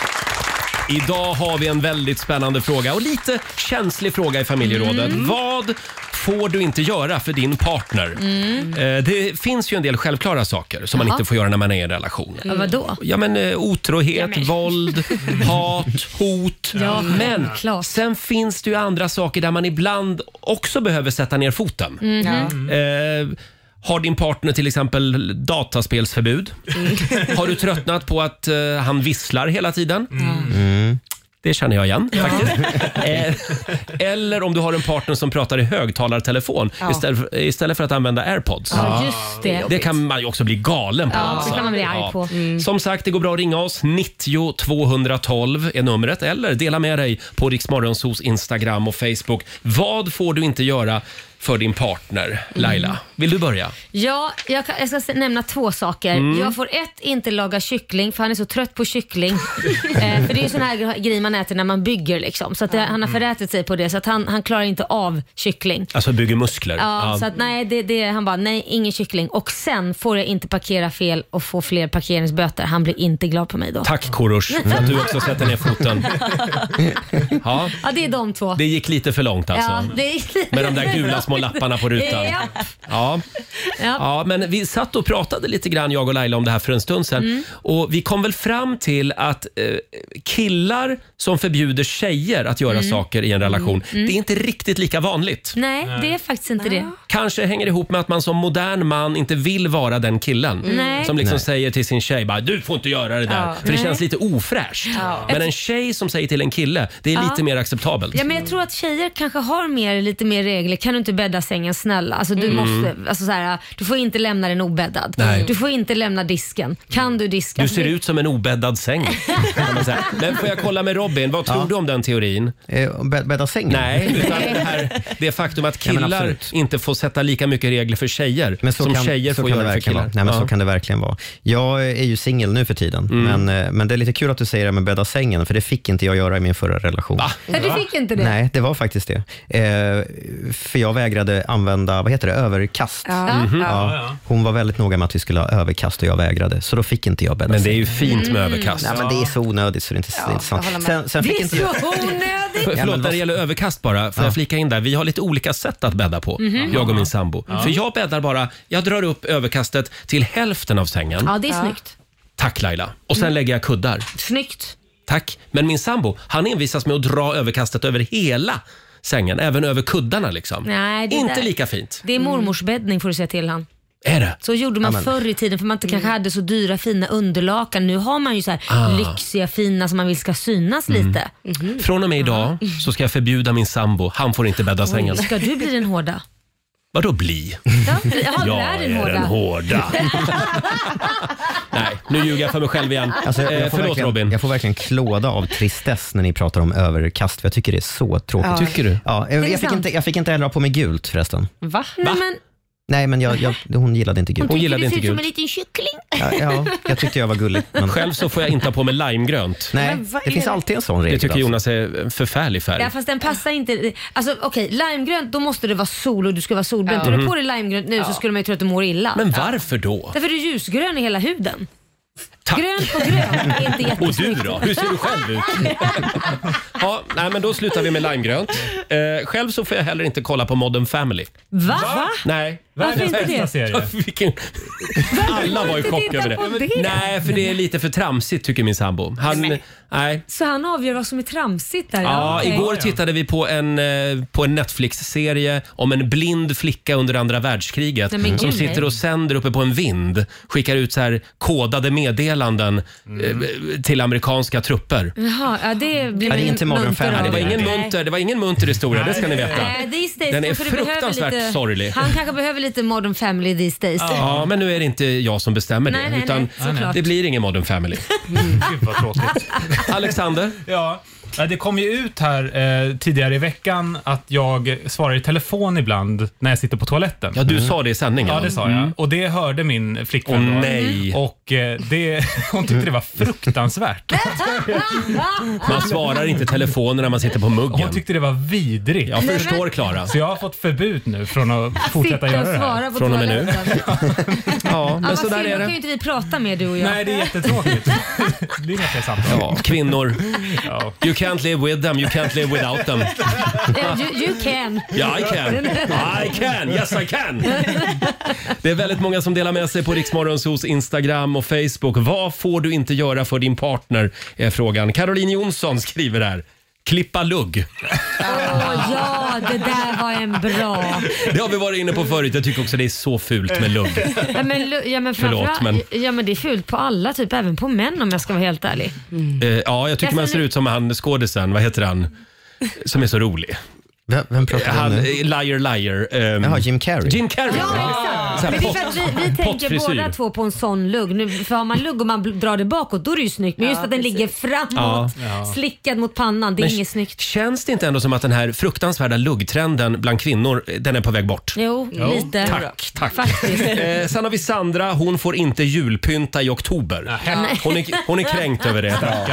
Idag har vi en väldigt spännande fråga och lite känslig fråga i familjerådet. Vad får du inte göra för din partner? Mm. Eh, Det finns ju en del självklara saker som man Jaha. inte får göra när man är i en relation. Ja, vadå? Ja, men eh, otrohet, *laughs* våld, hat, hot. Ja, men sen finns det ju andra saker där man ibland också behöver sätta ner foten. Mhm. Ja. Mm-hmm. Eh, har din partner till exempel dataspelsförbud? Mm. *laughs* Har du tröttnat på att eh, han visslar hela tiden? Mm. Det känner jag igen *laughs* faktiskt. Eh, Eller om du har en partner som pratar i högtalartelefon Ja. istället, för, istället för att använda airpods. Ja, just det. Det kan man ju också bli galen på. Ja, alltså. det kan man bli arg på. Mm. Som sagt, det går bra att ringa oss. 90 212 är numret. Eller dela med dig på Riksmorgonsos Instagram och Facebook. Vad får du inte göra för din Mm. partner? Laila, vill du börja? Ja, jag, kan, jag ska se- nämna två saker. Mm. Jag får ett, inte laga kyckling för han är så trött på *laughs* kyckling. eh, för det är ju sån här gre- grej man äter när man bygger liksom. Så att det, han Mm. har förätit sig på det så att han, han klarar inte av kyckling. Alltså bygger muskler. Ja, så att nej, det, det, han bara nej, ingen kyckling. Och sen får jag inte parkera fel och få fler parkeringsböter. Han blir inte glad på mig då. Tack Korosh för att du också sätter ner foten. Ja, Ja, det är de två. det gick lite för långt alltså. ja, det är... Med de där gula små lapparna på rutan. Ja. Ja. Ja. ja, men vi satt och pratade lite grann, jag och Laila, om det här för en stund sedan. Mm. Och vi kom väl fram till att eh, killar som förbjuder tjejer att göra Mm. saker i en relation, Mm. det är inte riktigt lika vanligt. Nej, det är faktiskt inte det. Kanske hänger det ihop med att man som modern man inte vill vara den killen Mm. Nej. som liksom Nej. säger till sin tjej bara, du får inte göra det där, Ja. för det Nej. känns lite ofräscht. Ja. Men en tjej som säger till en kille, det är Ja. lite mer acceptabelt. Ja, men jag tror att tjejer kanske har mer, lite mer regler. Kan du inte bädda sängen snälla? Alltså, du, Mm. måste, alltså, så här, du får inte lämna den obäddad. Nej. Du får inte lämna disken. Kan du diska? Du ser ut som en obäddad säng. Kan man säga. Men får jag kolla med Robin, vad tror du om den teorin? Eh, Bädda sängen? Nej, utan det, här, det faktum att *laughs* Nej, men killar absolut. inte får sätta lika mycket regler för tjejer Men så som kan, tjejer så får kan göra det för verkligen killar. Vara. Nej, men Ja. Mm. Så kan det verkligen vara. Jag är ju singel nu för tiden, men, eh, men det är lite kul att du säger det med bädda sängen, för det fick inte jag göra i min förra relation. Ja, du fick inte det? Nej, det var faktiskt det. Eh, för jag vägrade använda, vad heter det, överkast. Ja. Mhm. Ja. Hon var väldigt noga med att vi skulle ha överkast och jag vägrade, så då fick inte jag bädda Men det är ju sängen. fint med Mm. överkast. Nej, men det är så onödigt så det är inte, det är inte sant. Sen, sen fick inte jag... onödigt! För, Ja, men förlåt, när vad- *laughs* det gäller överkast bara, får jag flika in där? Vi har lite olika sätt att bädda på, Mhm. jag och min sambo. Ja. För jag bäddar bara, jag drar upp överkastet till hälften av sängen. Ja, det är snyggt. Tack Laila. Och sen Mm. lägger jag kuddar. Snyggt. Tack. Men min sambo, han envisas med att dra överkastet över hela sängen, även över kuddarna liksom. Nej, det Inte där- lika fint. Mm. Det är mormors bäddning får du säga till han. Är det? Så gjorde man Amen. förr i tiden för man inte kanske hade så dyra fina underlakan. Nu har man ju så här Ah. lyxiga fina som man vill ska synas Mm. lite. Från och med idag så ska jag förbjuda min sambo, han får inte bädda sängen. *laughs* Oj, Ska du bli den hårda? Vadå bli? Ja, jaha, jag du är den är den *laughs* hårda. hårda. Nej, nu ljuger jag för mig själv igen. Alltså, jag, eh, jag, får förlåt verkligen, Robin. jag får verkligen klåda av tristess när ni pratar om överkast, för jag tycker det är så tråkigt. Ja. Tycker du? Ja, Är det jag, jag, fick sant? inte, jag fick inte heller ha på mig gult förresten. Va? Nej, men, Nej, men jag, jag, hon gillade inte gult. hon tycker du ser ut som en liten kyckling. Ja, ja, *laughs* jag tyckte jag var gullig. Men... Själv så får jag inte ha på mig limegrönt. Nej, Men vad det är finns det? alltid en sån regel. Det tycker alltså. Jonas är en förfärlig färg. Ja, fast den passar inte. Alltså okej, limegrönt då måste det vara sol och du ska vara solbränd. Ja. Tar du Mhm. på dig limegrönt nu så skulle man ju tro att du mår illa. Men varför då? Därför är du ljusgrön i hela huden. Grönt på grönt är inte *laughs* Och jättesnyggt. du då? Hur ser du själv ut? *laughs* Ja, nej, men då slutar vi med limegrönt. Eh, själv så får jag heller inte kolla på Modern Family. Va? Va? Nej. Varför inte det? Ja, *laughs* vilken... Alla var i inte chock titta över på det. det? Nej, för det är lite för tramsigt tycker min sambo. Han, nej. Så han avgör vad som är tramsigt där? Ja, okej. igår tittade vi på en, eh, på en Netflix-serie om en blind flicka under andra världskriget Nej, men som gud, sitter nej. och sänder uppe på en vind. Skickar ut så här kodade meddelanden eh, till amerikanska trupper. Jaha, ja, det blir man ju munter Nej, av. Det var ingen Nej. munter, det var ingen munter historia, det ska ni veta. Nej, these days Den är kanske du behöver fruktansvärt lite, sorglig. Han kanske behöver lite modern family these days. Ja, men nu är det inte jag som bestämmer det. Nej, nej, utan nej, såklart. Mm. det blir ingen *laughs* Modern Family. Mm, Gud vad tråkigt. *laughs* Alexander? Ja. Ja, Det kom ju ut här eh, tidigare i veckan att jag svarar i telefon ibland när jag sitter på toaletten. Ja, du sa det i sändningen. Ja, det sa jag. Mm. Och det hörde min flickvän Åh, då. nej. Mm. Och eh, det, *laughs* hon tyckte det var fruktansvärt. *laughs* Man svarar inte i telefoner när man sitter på muggen. Hon tyckte det var vidrigt. Jag förstår Klara. Så jag har fått förbud nu från att fortsätta Sitta göra och det här. svara på Från och med nu. *laughs* toaletten. Ja, Ja, men så vad där synd, då kan ju är det. inte vi prata med du och jag. Nej, det är jättetråkigt. Det är inga fler samtal. Ja, kvinnor. You can't live with them, you can't live *laughs* without them. Eh, You, you can. Yeah, I can. I can. Yes, I can. Det är väldigt många som delar med sig på Riksmorgonsos Instagram och Facebook. Vad får du inte göra för din partner? är frågan. Caroline Jonsson skriver här. Klippa lugg. Åh, ja, det där var en bra. Det har vi varit inne på förut. Jag tycker också det är så fult med lugg. Ja, men, lu- ja, men Förlåt, framförallt, men- Ja, men det är fult på alla, typ även på män om jag ska vara helt ärlig. Eh, ja, jag tycker man Alltså, ser nu- ut som han skådisen, vad heter han, som är så rolig. Vem, pratar du om han, nu? eh, Liar liar. ehm, Jaha, Jim Carrey. Jim Carrey. Så Men här det är pott- för att vi, vi tänker pottfrisyr. båda två på en sån lugg. Nu, för har man lugg och man bl- drar det bakåt då är det ju snyggt. Men just Ja, att den precis. ligger framåt, Ja, ja. slickad mot pannan, det är Men inget snyggt. Känns det inte ändå som att den här fruktansvärda luggtrenden bland kvinnor, eh, den är på väg bort? Jo, lite. Tack, tack. Faktiskt. *laughs* Eh, sen har vi Sandra, hon får inte julpynta i oktober. Nej. Hon är, hon är kränkt över det.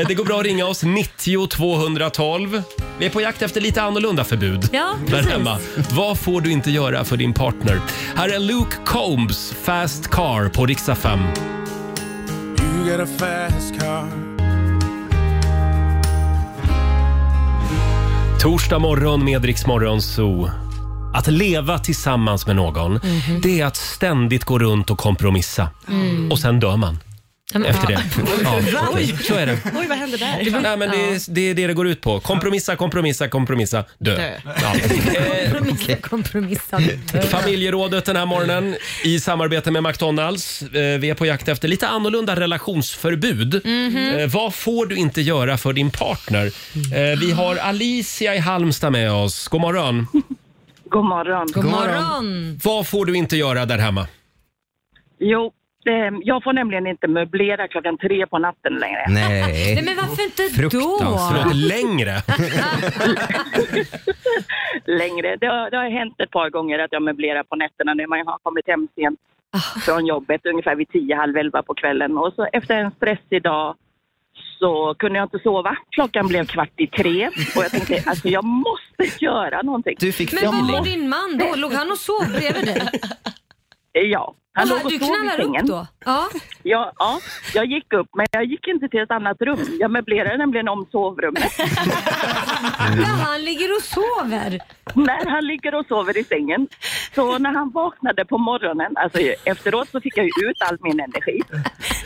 Eh, det går bra att ringa oss, 90 212. Vi är på jakt efter lite annorlunda förbud. Ja, där precis. hemma. Vad får du inte göra för din partner? Här är Luke Combs, Fast Car på riksdag 5. You got a fast car. Torsdag morgon med Rix Morgon Zoo. Att leva tillsammans med någon, Mhm. det är att ständigt gå runt och kompromissa. Mm. Och sen dör man. Ja, men- Efter ja. *laughs* det. *laughs* Ja, Oj, så är det. Oj, vad hände där? Nej, men det, är, det är det det går ut på. Kompromissa, kompromissa, kompromissa, dö. Dö. Ja. Kompromissa, kompromissa. Eh. Familjerådet den här morgonen i samarbete med McDonalds. Eh, Vi är på jakt efter lite annorlunda relationsförbud. Mhm. Eh, Vad får du inte göra för din partner? Eh, Vi har Alicia i Halmstad med oss. God morgon. God morgon. God morgon. Vad får du inte göra där hemma? Jo, eh, jag får nämligen inte möblera klockan tre på natten längre. Nej. Nej *laughs* men varför inte då? Fruktansvärt. Längre? längre. Det har, det har hänt ett par gånger att jag möblerar på nätterna när man har kommit hem sent Ah. från jobbet, ungefär vid tio, halv elva på kvällen. Och så efter en stressig dag så kunde jag inte sova. Klockan blev kvart i tre och jag tänkte alltså jag måste göra någonting. Du fick Men vad var din man då? Låg han och sov bredvid dig? Ja. *laughs* Han Jaha, låg och du sov i knallar upp sängen. då? Ja. Ja, ja, jag gick upp, men jag gick inte till ett annat rum. Jag möblerade nämligen om sovrummet. *laughs* Ja, han ligger och sover. när han ligger och sover i sängen. Så när han vaknade på morgonen, alltså efteråt så fick jag ju ut all min energi.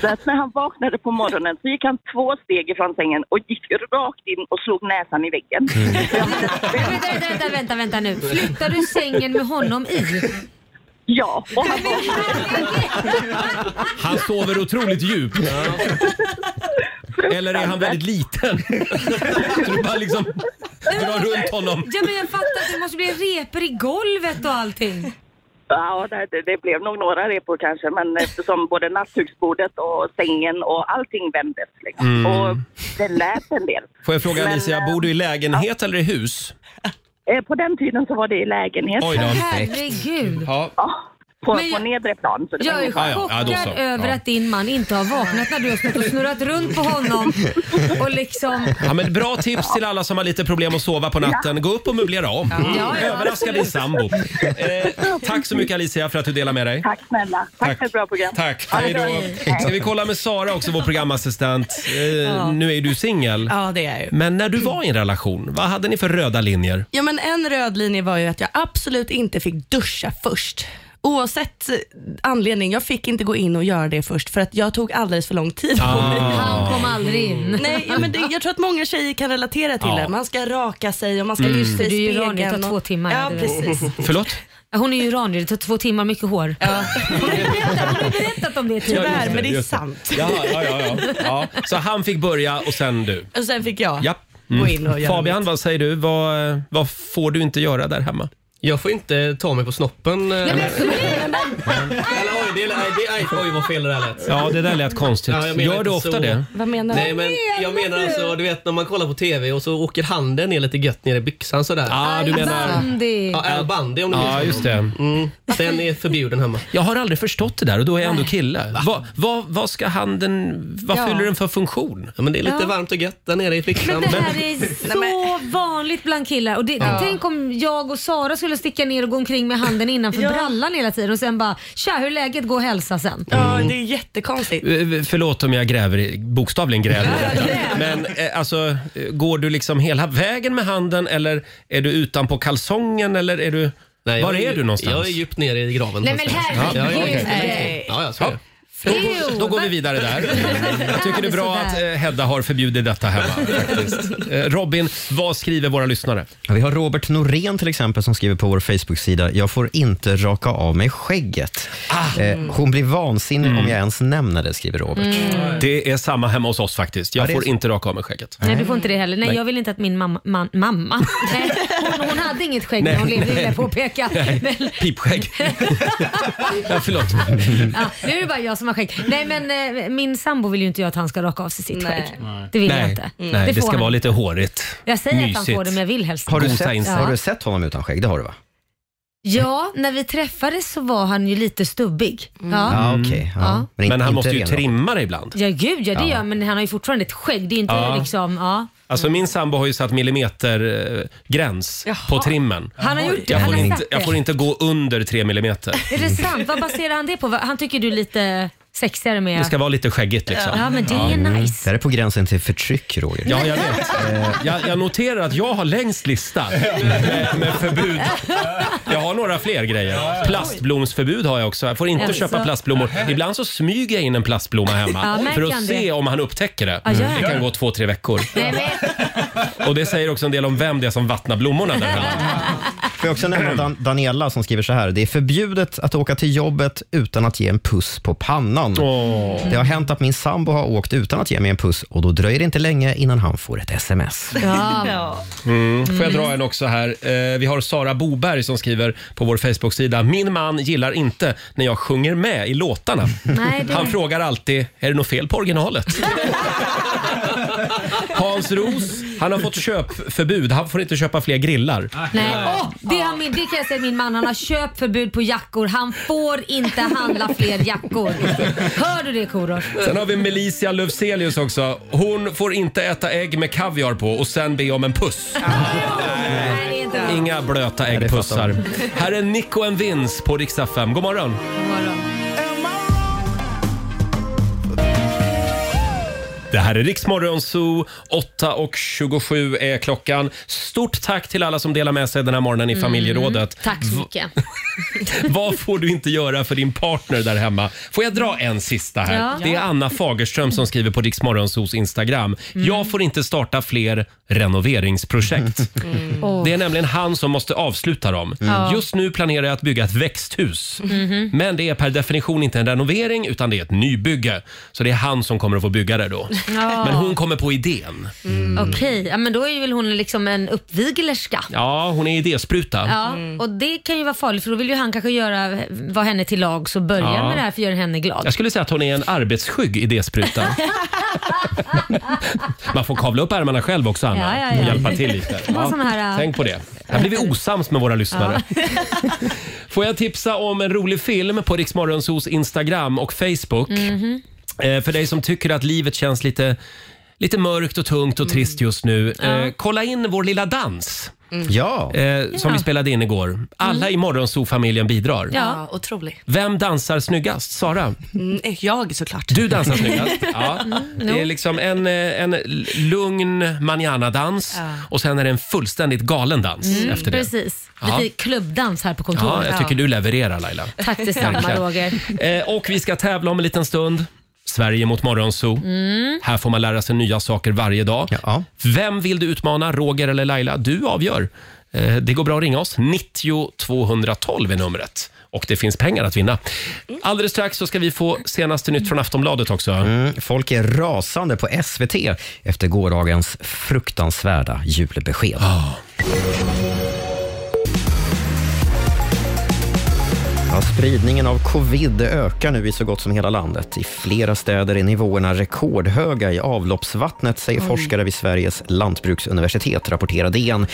Så att när han vaknade på morgonen så gick han två steg ifrån sängen och gick rakt in och slog näsan i väggen. Mm. Vänta, vänta, vänta, vänta, vänta nu. Flyttar du sängen med honom i? Ja. Och han Han sover otroligt djupt. *laughs* Eller är han väldigt liten? Så du bara liksom dra runt honom. Ja men jag fattar att det måste bli repor i golvet och allting. Ja, det, det- det blev nog några repor kanske, men eftersom både nattduksbordet och sängen och allting vändes. Liksom. Mm. Och eh, det lät en del. Får jag fråga Alicia, bor du i lägenhet eller i hus? Eh, På den tiden så var det i lägenhet. Oj då. Herregud. Ja. På, på nedre plan. Så det var Jag är ingen fara. chockad över att din man inte har vaknat när du har stått och snurrat runt på honom och liksom... Ja, men bra tips till alla som har lite problem att sova på natten. Gå upp och möblera om. Ja, ja, Överraska din sambo. Eh, tack så mycket Alicia för att du delar med dig. Tack snälla. Tack, Tack. för ett bra program. Tack. Ha det Hej bra. då. Ska vi kolla med Sara också, vår programassistent. Eh, Ja. Nu är ju du singel. Ja, det är jag ju. Men när du var i en relation, vad hade ni för röda linjer? Ja, men en röd linje var ju att jag absolut inte fick duscha först. Oavsett eh, anledning, jag fick inte gå in och göra det först för att jag tog alldeles för lång tid på mig. Ah. Han kom aldrig in. Nej, ja, men det, jag tror att många tjejer kan relatera till Ja. det. Man ska raka sig och man ska Mm. titta i Du är ju spegeln. uran, det tar och- två timmar. Ja, precis. *laughs* Förlåt? Hon är ju iranier, det tar två timmar, mycket hår. Hon har ju berättat- hon har ju berättat om det Ja, tidigare. just just Ja, ja, ja, ja. ja. Så han fick börja och sen du. Och sen fick jag. Ja. Mm. Gå in och göra Fabian, vad säger du? Vad, vad får du inte göra där hemma? Jag får inte ta mig på snoppen. eh, men- Eller oj, det, är- det, är- oj, vad fel det där lät. Ja, det där lät konstigt. Ja, jag menar Gör du inte ofta så. det? Vad menar Nej, men jag menar alltså, du vet när man kollar på TV och så åker handen ner lite gött ner i byxan sådär. Ah, Ja, du menar- Bandy. Ja, Al Bundy om du Ja, minns just det. Mm. Den är förbjuden hemma. Jag har aldrig förstått det där och då är jag ändå kille. Vad, vad, vad ska handen, vad Ja. fyller den för funktion? Ja, men det är lite Ja. varmt och gött där nere i Men flickan. det här är så vanligt bland killar. Och det, Ja. Tänk om jag och Sara skulle sticka ner och gå omkring med handen innanför brallan hela tiden och sen bara “tja, hur är läget? Gå och hälsa sen”. Ja, det är jättekonstigt. Eh, Förlåt om jag gräver, i- bokstavligen gräver i detta. Men eh, alltså, eh, går du liksom hela vägen med handen eller är du utanpå kalsongen eller är du... Nej, jag var är ju- du någonstans? Jag är djupt nere i graven. Nej, men någonstans. herregud. Ja, ja, okej. Nej. ja, ja, så är det. Då, går- då går vi *laughs* vidare där. Jag tycker det är bra att eh, Hedda har förbjudit *laughs* detta hemma. Faktiskt. Eh, Robin, vad skriver våra lyssnare? Ja, Vi har Robert Norén till exempel som skriver på vår Facebook-sida “Jag får inte raka av mig skägget”. Ah. Eh, hon blir vansinnig om jag ens nämner det, skriver Robert. Mm. Mm. Det är samma hemma hos oss faktiskt. Ja, Jag det är får så. inte raka av mig skägget. Nej, du får inte det heller. Nej, Nej. jag vill inte att min mamma... Man, mamma. *laughs* Nej, hon, hon hade inget skägg när hon Nej, levde, vill nej. jag *laughs* påpeka. Nej, Men, pipskägg. ja, förlåt. ja, nu är det bara jag som har skägg. Nej, men eh, min sambo vill ju inte jag att han ska raka av sig sitt skägg. Det vill jag inte. Nej, det, får ska han. vara lite hårigt. Jag säger att han mysigt. får det, men jag vill helst Har du, inte. sett, Ja. har du sett honom utan skägg? Det har du va? Ja, när vi träffades så var han ju lite stubbig. Ja. Ja, okej. Ja. ja. Men, inte- han inte måste ju ren trimma det ibland. Ja, gud ja, det Ja. gör men han har ju fortfarande ett skägg. Det är inte Ja. liksom, ja. Alltså min sambo har ju satt millimetergräns Jaha. på trimmen. Han har gjort det, Jag han får, har inte, satt jag det. får inte gå under tre millimeter. *laughs* Är det sant? Vad baserar han det på? Vad- Han tycker du är lite sexigare med... Det ska vara lite skäggigt liksom. Ja, men det är nice. Det här är på gränsen till förtryck, Roger. Ja, jag vet. Eh, Jag, jag noterar att jag har längst lista med, med förbud. Jag har några fler grejer. Plastblomsförbud har jag också. Jag får inte Alltså. köpa plastblommor. Ibland så smyger jag in en plastblomma hemma Ja, märker för att han se det? om han upptäcker det. Ja, gör han Det kan det? gå två, tre veckor. Nej, men, Och det säger också en del om vem det är som vattnar blommorna där hemma. Får jag också nämna Dan- Daniela som skriver så här. Det är förbjudet att åka till jobbet utan att ge en puss på pannan. Det har hänt att min sambo har åkt utan att ge mig en puss och då dröjer det inte länge innan han får ett sms. ja. Mm. Får jag dra en också här? Eh, vi har Sara Boberg som skriver på vår Facebook-sida. Min man gillar inte när jag sjunger med i låtarna. *laughs* Nej, det- Han frågar alltid, är det något fel *laughs* på originalet? Hans Ros, han har fått köpförbud. Han får inte köpa fler grillar. Eh, Nej. Åh, det, har min, det kan jag säga min man, han har köpförbud på jackor. Han får inte handla fler jackor. Hör du det Korosh? Sen har vi Melisia Lövselius också. Hon får inte äta ägg med kaviar på och sen be om en puss. Nej, det är inte bra. Inga blöta äggpussar. Här är Nico en Vins på riksdag 5. God morgon! Det här är Riksmorgon Zoo. 8.27 är klockan. Stort tack till alla som delar med sig den här morgonen i familjerådet. Mm, tack så mycket. *laughs* Vad får du inte göra för din partner där hemma? Får jag dra en sista här? Ja. Det är Anna Fagerström som skriver på Riksmorgonsos Instagram. Mm. Jag får inte starta fler renoveringsprojekt. Mm. Åh. Mm. Det är nämligen han som måste avsluta dem. Ja. Just nu planerar jag att bygga ett växthus. Mhm. Mm-hmm. Men det är per definition inte en renovering utan det är ett nybygge. Så det är han som kommer att få bygga det då. Ja. Men hon kommer på idén. Okej, ja, men då är ju väl hon liksom en uppviglerska. Ja, hon är idéspruta. Ja, och det kan ju vara farligt för då vill ju han kanske göra, vara henne till lag så börja Ja. med det här för att göra henne glad. Jag skulle säga att hon är en arbetsskygg idéspruta. *laughs* Man får kavla upp ärmarna själv också, Anna, Ja, ja, ja. och hjälpa till lite. Det var sån här, äh, Tänk på det. Här blir vi osams med våra lyssnare. Får jag tipsa om en rolig film på Riksmorgonsos Instagram och Facebook? Mhm. Eh, För dig som tycker att livet känns lite, lite mörkt och tungt Mm. och trist just nu. Eh, kolla in vår lilla dans. Mm. Ja. Eh, som vi spelade in igår. Mm. Alla i Morgonzoo-familjen bidrar. Ja, otrolig. Vem dansar snyggast? Sara? Mm, jag såklart. Du dansar *laughs* snyggast. Ja. Mm, Det är jo. liksom en, eh, en lugn manana-dans Ja. och sen är det en fullständigt galen dans Mm, efter det. Precis, Ja. lite klubbdans här på Ja, kontoret. jag tycker du levererar Laila. Tack detsamma Verkligen. Roger. Eh, och vi ska tävla om en liten stund. Sverige mot Morgonzoo. Mm. Här får man lära sig nya saker varje dag. Vem vill du utmana, Roger eller Laila? Du avgör. Eh, Det går bra att ringa oss. 90 212 är numret. Och det finns pengar att vinna. Alldeles strax så ska vi få senaste nytt från Aftonbladet också. Mm, folk är rasande på SVT efter gårdagens fruktansvärda julbesked. Ja, spridningen av covid ökar nu i så gott som hela landet. I flera städer är nivåerna rekordhöga i avloppsvattnet, säger Oj. forskare vid Sveriges lantbruksuniversitet, rapporterar DN.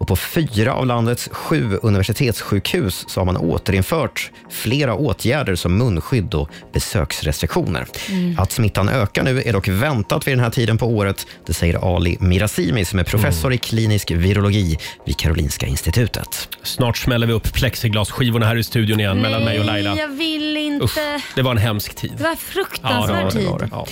Och på fyra av landets sju universitetssjukhus så har man återinfört flera åtgärder som munskydd och besöksrestriktioner. Mm. Att smittan ökar nu är dock väntat vid den här tiden på året. Det säger Ali Mirazimi som är professor i klinisk virologi vid Karolinska institutet. Snart smäller vi upp plexiglasskivorna här i studion igen mellan mig och Laila. Nej, jag vill inte. Usch, det var en hemsk tid. Det var fruktansvärd tid. Ja.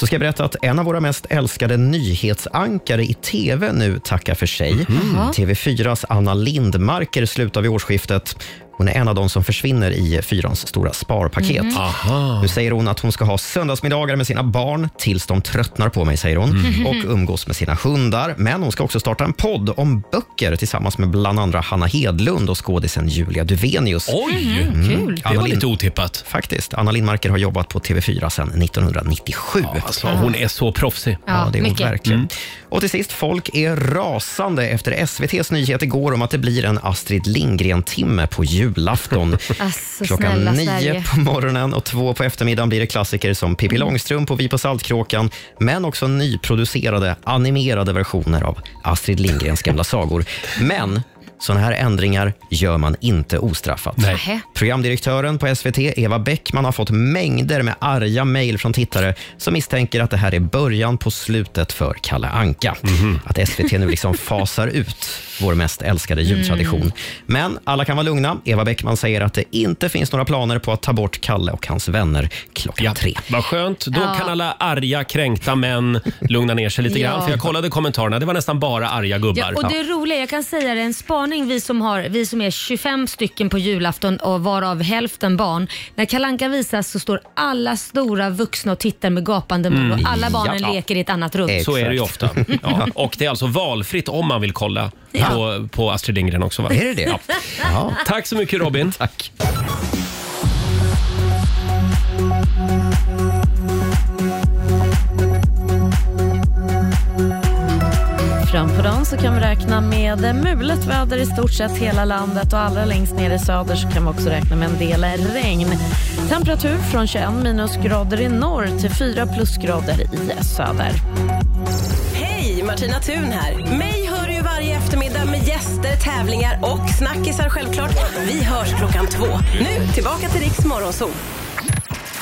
Så ska jag berätta att en av våra mest älskade nyhetsankare i TV nu tackar för sig. Mhm. Mm. TV4s Anna Lindmarker slutar vid årsskiftet. Hon är en av de som försvinner i Fyrans stora sparpaket. Mhm. Nu säger hon att hon ska ha söndagsmiddagar med sina barn tills de tröttnar på mig, säger hon. Mm. Mhm. Och umgås med sina hundar. Men hon ska också starta en podd om böcker tillsammans med bland andra Hanna Hedlund och skådisen Julia Duvenius. Oj! Mm. Kul. Det Anna var lite Lind- otippat. Faktiskt. Anna Lindmarker har jobbat på TV4 sedan 1997. Ja, alltså, hon är så proffsig. Mm. Ja, det är hon mycket. verkligen. Och till sist, folk är rasande efter SVTs nyhet igår om att det blir en Astrid Lindgren-timme på julafton. *laughs* Alltså, Klockan snälla nio Sverige. *laughs* på morgonen och två på eftermiddagen blir det klassiker som Pippi Långstrump och Vi på Saltkråkan, men också nyproducerade animerade versioner av Astrid Lindgrens gamla sagor. Men sådana här ändringar gör man inte ostraffat. Nej. Programdirektören på SVT, Eva Bäckman, har fått mängder med arga mejl från tittare som misstänker att det här är början på slutet för Kalle Anka. Att SVT nu liksom fasar ut vår mest älskade jultradition. Mm. Men alla kan vara lugna. Eva Bäckman säger att det inte finns några planer på att ta bort Kalle och hans vänner klockan tre. Vad skönt. Då Ja. kan alla arga, kränkta män lugna ner sig lite Ja. grann. För jag kollade kommentarerna, det var nästan bara arga gubbar. Ja, och det roliga, jag kan säga det, en spaning vi som, har, vi som är 25 stycken på julafton och varav hälften barn. När Kalanka visas så står alla stora vuxna och tittar med gapande mun Mm. och alla barnen Ja. leker i ett annat rum. Så är det ju ofta. *laughs* Ja. Och det är alltså valfritt om man vill kolla Ja. på, på Astrid Lindgren också. Va? Är det det? Ja. Jaha. Tack så mycket Robin. Tack. Fram på dagen så kan vi räkna med mulet väder i stort sett hela landet och allra längst ner i söder så kan vi också räkna med en del regn. Temperatur från 21 minusgrader i norr till 4 plusgrader i söder. Hej, Martina Thun här. Mig hör du ju varje eftermiddag med gäster, tävlingar och snackisar självklart. Vi hörs klockan två. Nu tillbaka till Riks Morgonzoo.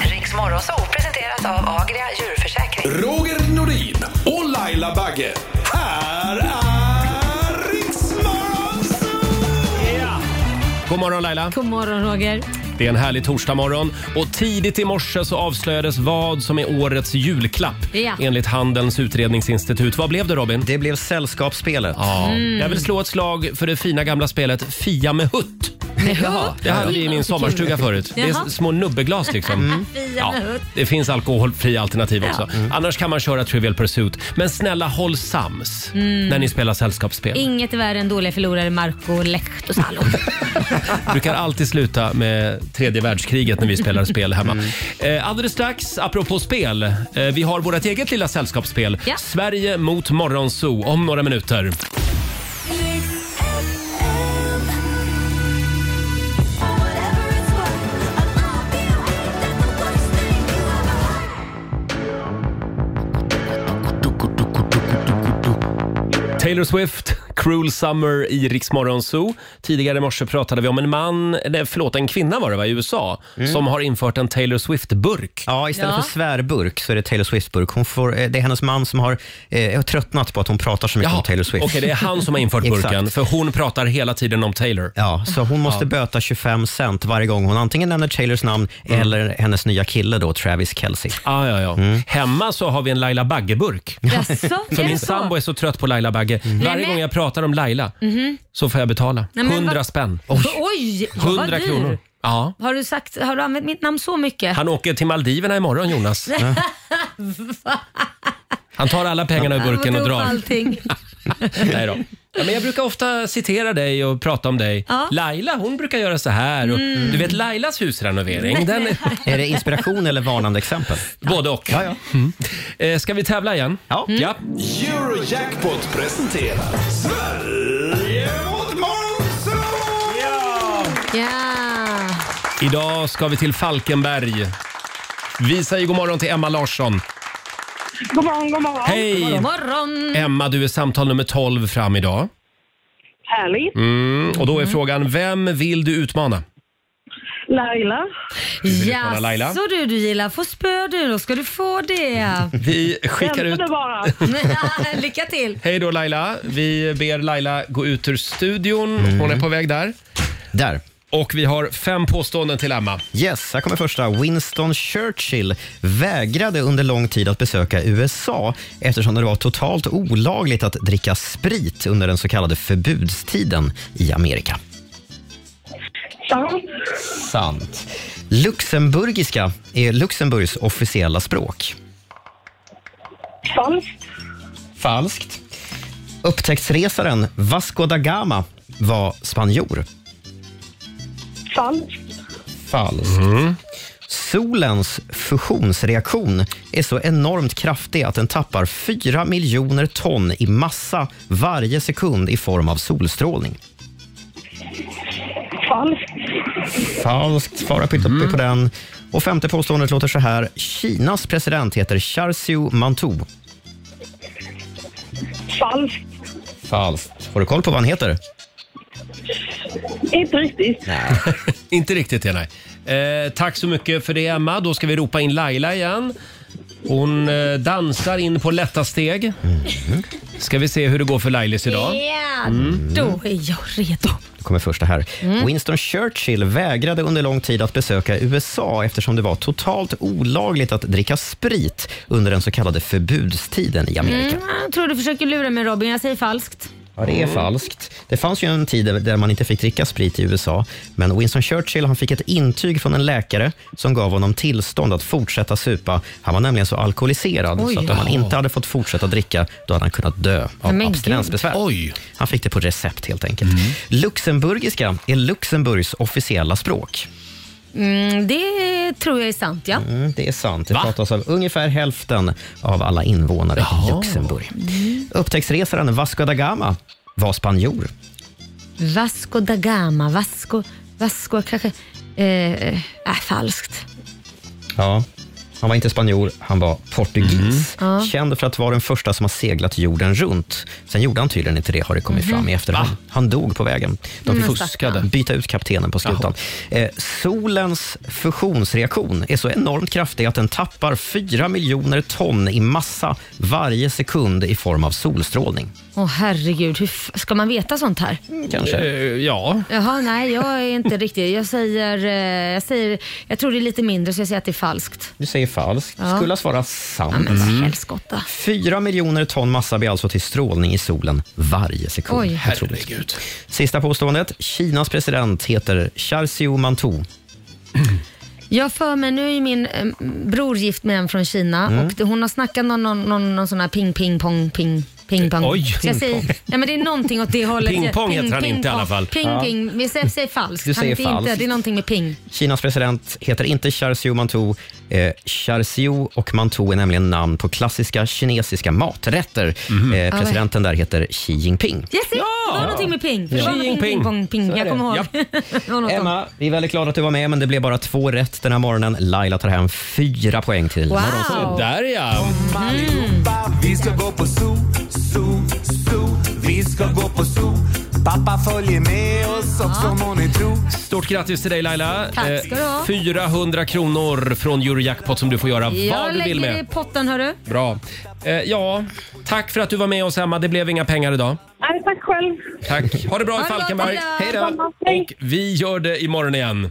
Riks Morgonzoo presenteras av Agria djurförsäkring. Roger Nordin och Laila Bagge. Här är Riksmorgon God morgon Laila. God morgon Roger. Det är en härlig torsdagmorgon och tidigt i morse så avslöjades vad som är årets julklapp Ja. enligt Handelns utredningsinstitut. Vad blev det Robin? Det blev Sällskapsspelet. Ja. Mm. Jag vill slå ett slag för det fina gamla spelet Fia med hutt. Jaha, det hade vi i min sommarstuga förut. Det är Jaha. Mm. små nubbeglas liksom. Fia Ja, Nut. det finns alkoholfria alternativ Ja. Mm. också. Annars kan man köra Trivial Pursuit. Men snälla håll sams Mm. när ni spelar sällskapsspel. Inget är värre än dåliga förlorare Marco Lehtosalo. brukar alltid sluta med tredje världskriget när vi spelar spel hemma. Mm. Eh, alldeles strax, apropå spel, eh, vi har vårt eget lilla sällskapsspel. Ja. Sverige mot Morgonzoo om några minuter. Taylor Swift, Cruel Summer i Rix Morgon Zoo. Tidigare i morse pratade vi om en man, nej, förlåt en kvinna var det va, i USA Mm. som har infört en Taylor Swift-burk. Ja, istället Ja. för svärburk så är det Taylor Swift-burk. Hon får, eh, det är hennes man som har eh, har tröttnat på att hon pratar så mycket om Taylor Swift. Okej, det är han som har infört burken, Exakt. för hon pratar hela tiden om Taylor. Ja, så hon måste böta 25 cent varje gång hon antingen nämner Taylors namn eller hennes nya kille då, Travis Kelce. Mm. Ah, ja, ja. Hemma så har vi en Laila Bagge-burk. Mm. Jaså, *laughs* För är min det så? sambo är så trött på Laila Bagge. Varje Nej, men- gång jag pratar om Laila Mhm. så får jag betala. Nej, men 100 vad- spänn. Oj, Oj vad 100 dyr. kronor. Ja. Har du, sagt, har du använt mitt namn så mycket? Han åker till Maldiverna imorgon Jonas. *laughs* Va? Han tar alla pengarna ur Han burken och tog drar. Allting. Nej då. Ja, men jag brukar ofta citera dig och prata om dig. Ja. Laila hon brukar göra så här. Och, Mm. Du vet Lailas husrenovering. Den är... *laughs* Är det inspiration eller varnande exempel? Både och. Ja, ja. Ska vi tävla igen? Ja. Mm. ja. Eurojackpot presenterar Sverige mot Morgonzoo! Ja. Idag ska vi till Falkenberg. Vi säger god morgon till Emma Larsson. God morgon, god morgon. Hej! God morgon. Mm. Emma, du är samtal nummer 12 fram idag. Härligt. Mm, och då är frågan, vem vill du utmana? Laila. utmana Laila? så du, du gillar att få spö du, då ska du få det. Vi skickar ut... bara. *laughs* Lycka till. *laughs* Hej då Laila. Vi ber Laila gå ut ur studion. Hon är på väg där. Där. Och vi har fem påståenden till Emma. Yes, här kommer första. Winston Churchill vägrade under lång tid att besöka USA eftersom det var totalt olagligt att dricka sprit under den så kallade förbudstiden i Amerika. Sant. Sant. Luxemburgiska är Luxemburgs officiella språk. Falskt. Falskt. Upptäcktsresaren Vasco da Gama var spanjor. Falskt. Falskt. Solens fusionsreaktion är så enormt kraftig att den tappar 4 miljoner ton i massa varje sekund i form av solstrålning. Falskt. Falskt. Svara pytt på den. Och femte påståendet låter så här. Kinas president heter Charsiu Mantou. Falskt. Falskt. Har du koll på vad han heter? Inte riktigt. *laughs* Inte riktigt det, nej. Eh, tack så mycket för det Emma. Då ska vi ropa in Laila igen. Hon eh, dansar in på lätta steg. Ska vi se hur det går för Lailis idag. Ja, Mm. då är jag redo. Nu kommer första här. Mm. Winston Churchill vägrade under lång tid att besöka USA eftersom det var totalt olagligt att dricka sprit under den så kallade förbudstiden i Amerika. Mm, jag tror du försöker lura mig Robin, jag säger falskt. Ja, det är Mm. falskt. Det fanns ju en tid där- där man inte fick dricka sprit i USA, men Winston Churchill han fick ett intyg från en läkare som gav honom tillstånd att fortsätta supa. Han var nämligen så alkoholiserad Oj. så att om han inte hade fått fortsätta dricka, då hade han kunnat dö av Men gud. Mm. abstinensbesvär. Han fick det på recept helt enkelt. Luxemburgiska är Luxemburgs officiella språk. Mm, det tror jag är sant ja. Mm, det är sant. Det pratas av ungefär hälften av alla invånare i Luxemburg. Upptäcktsresaren Vasco da Gama var spanjor. Vasco da Gama, Vasco, Vasco kanske... Eh, eh, äh, falskt. Ja. Han var inte spanjor, han var portugis. Ja. Känd för att vara den första som har seglat jorden runt. Sen gjorde han tydligen inte det, har det kommit fram i efterhand. Han dog på vägen. De Mm, fick fuskade. byta ut kaptenen på skutan. Eh, solens fusionsreaktion är så enormt kraftig att den tappar 4 miljoner ton i massa varje sekund i form av solstrålning. Åh herregud, hur f- ska man veta sånt här? Kanske. ja. Jaha, nej jag är inte riktigt... Jag säger, eh, jag säger... Jag tror det är lite mindre så jag säger att det är falskt. Du säger falskt. Ja. Skulle ha svarat sant. Mm. Ja, men helskotta. Fyra miljoner ton massa blir alltså till strålning i solen varje sekund. Oj. Otroligt. Sista påståendet. Kinas president heter Charsiu Mantou. Jag för mig, nu är ju min eh, bror gift med en från Kina Mm. och det, hon har snackat någon, någon, någon, någon sån här ping ping pong ping. Ping pong. Oj. Så jag säger, Ping-pong. nej, men det är någonting åt det hållet. Ping pong heter han inte i alla pong. fall. Ping Ja. ping. Vi säger, säger falskt. Du säger han, heter Inte, falskt. det är någonting med ping. Kinas president heter inte Charsiu Mantou. Eh, Charsiu och Mantou är nämligen namn på klassiska kinesiska maträtter. Mhm. Eh, presidenten där heter Xi Jinping. Yes, ja! Det var någonting med ping. Det Ja. var någonting med ping pong ping. Så är Jag det. kommer ihåg. Ja. *laughs* Det var något sånt. Emma, vi är väldigt glada att du var med, men det blev bara två rätt den här morgonen. Laila tar hem fyra poäng till Wow. Morgonzoo. Där ja! Mm. Allihopa, vi ska gå på zoo, zoo, zoo. Vi ska gå på zoo. Pappa följer med oss också om hon är tro. Stort grattis till dig Laila. Tack ska du ha. Eh, 400 kronor från Eurojackpot som du får göra vad Jag du vill lägger det i med. potten hörru. Bra. Eh, ja, tack för att du var med oss Emma. Det blev inga pengar idag. Nej, tack själv. Tack. Ha det bra i Ha det bra, Falkenberg. Hej då. Hej. Och vi gör det imorgon igen.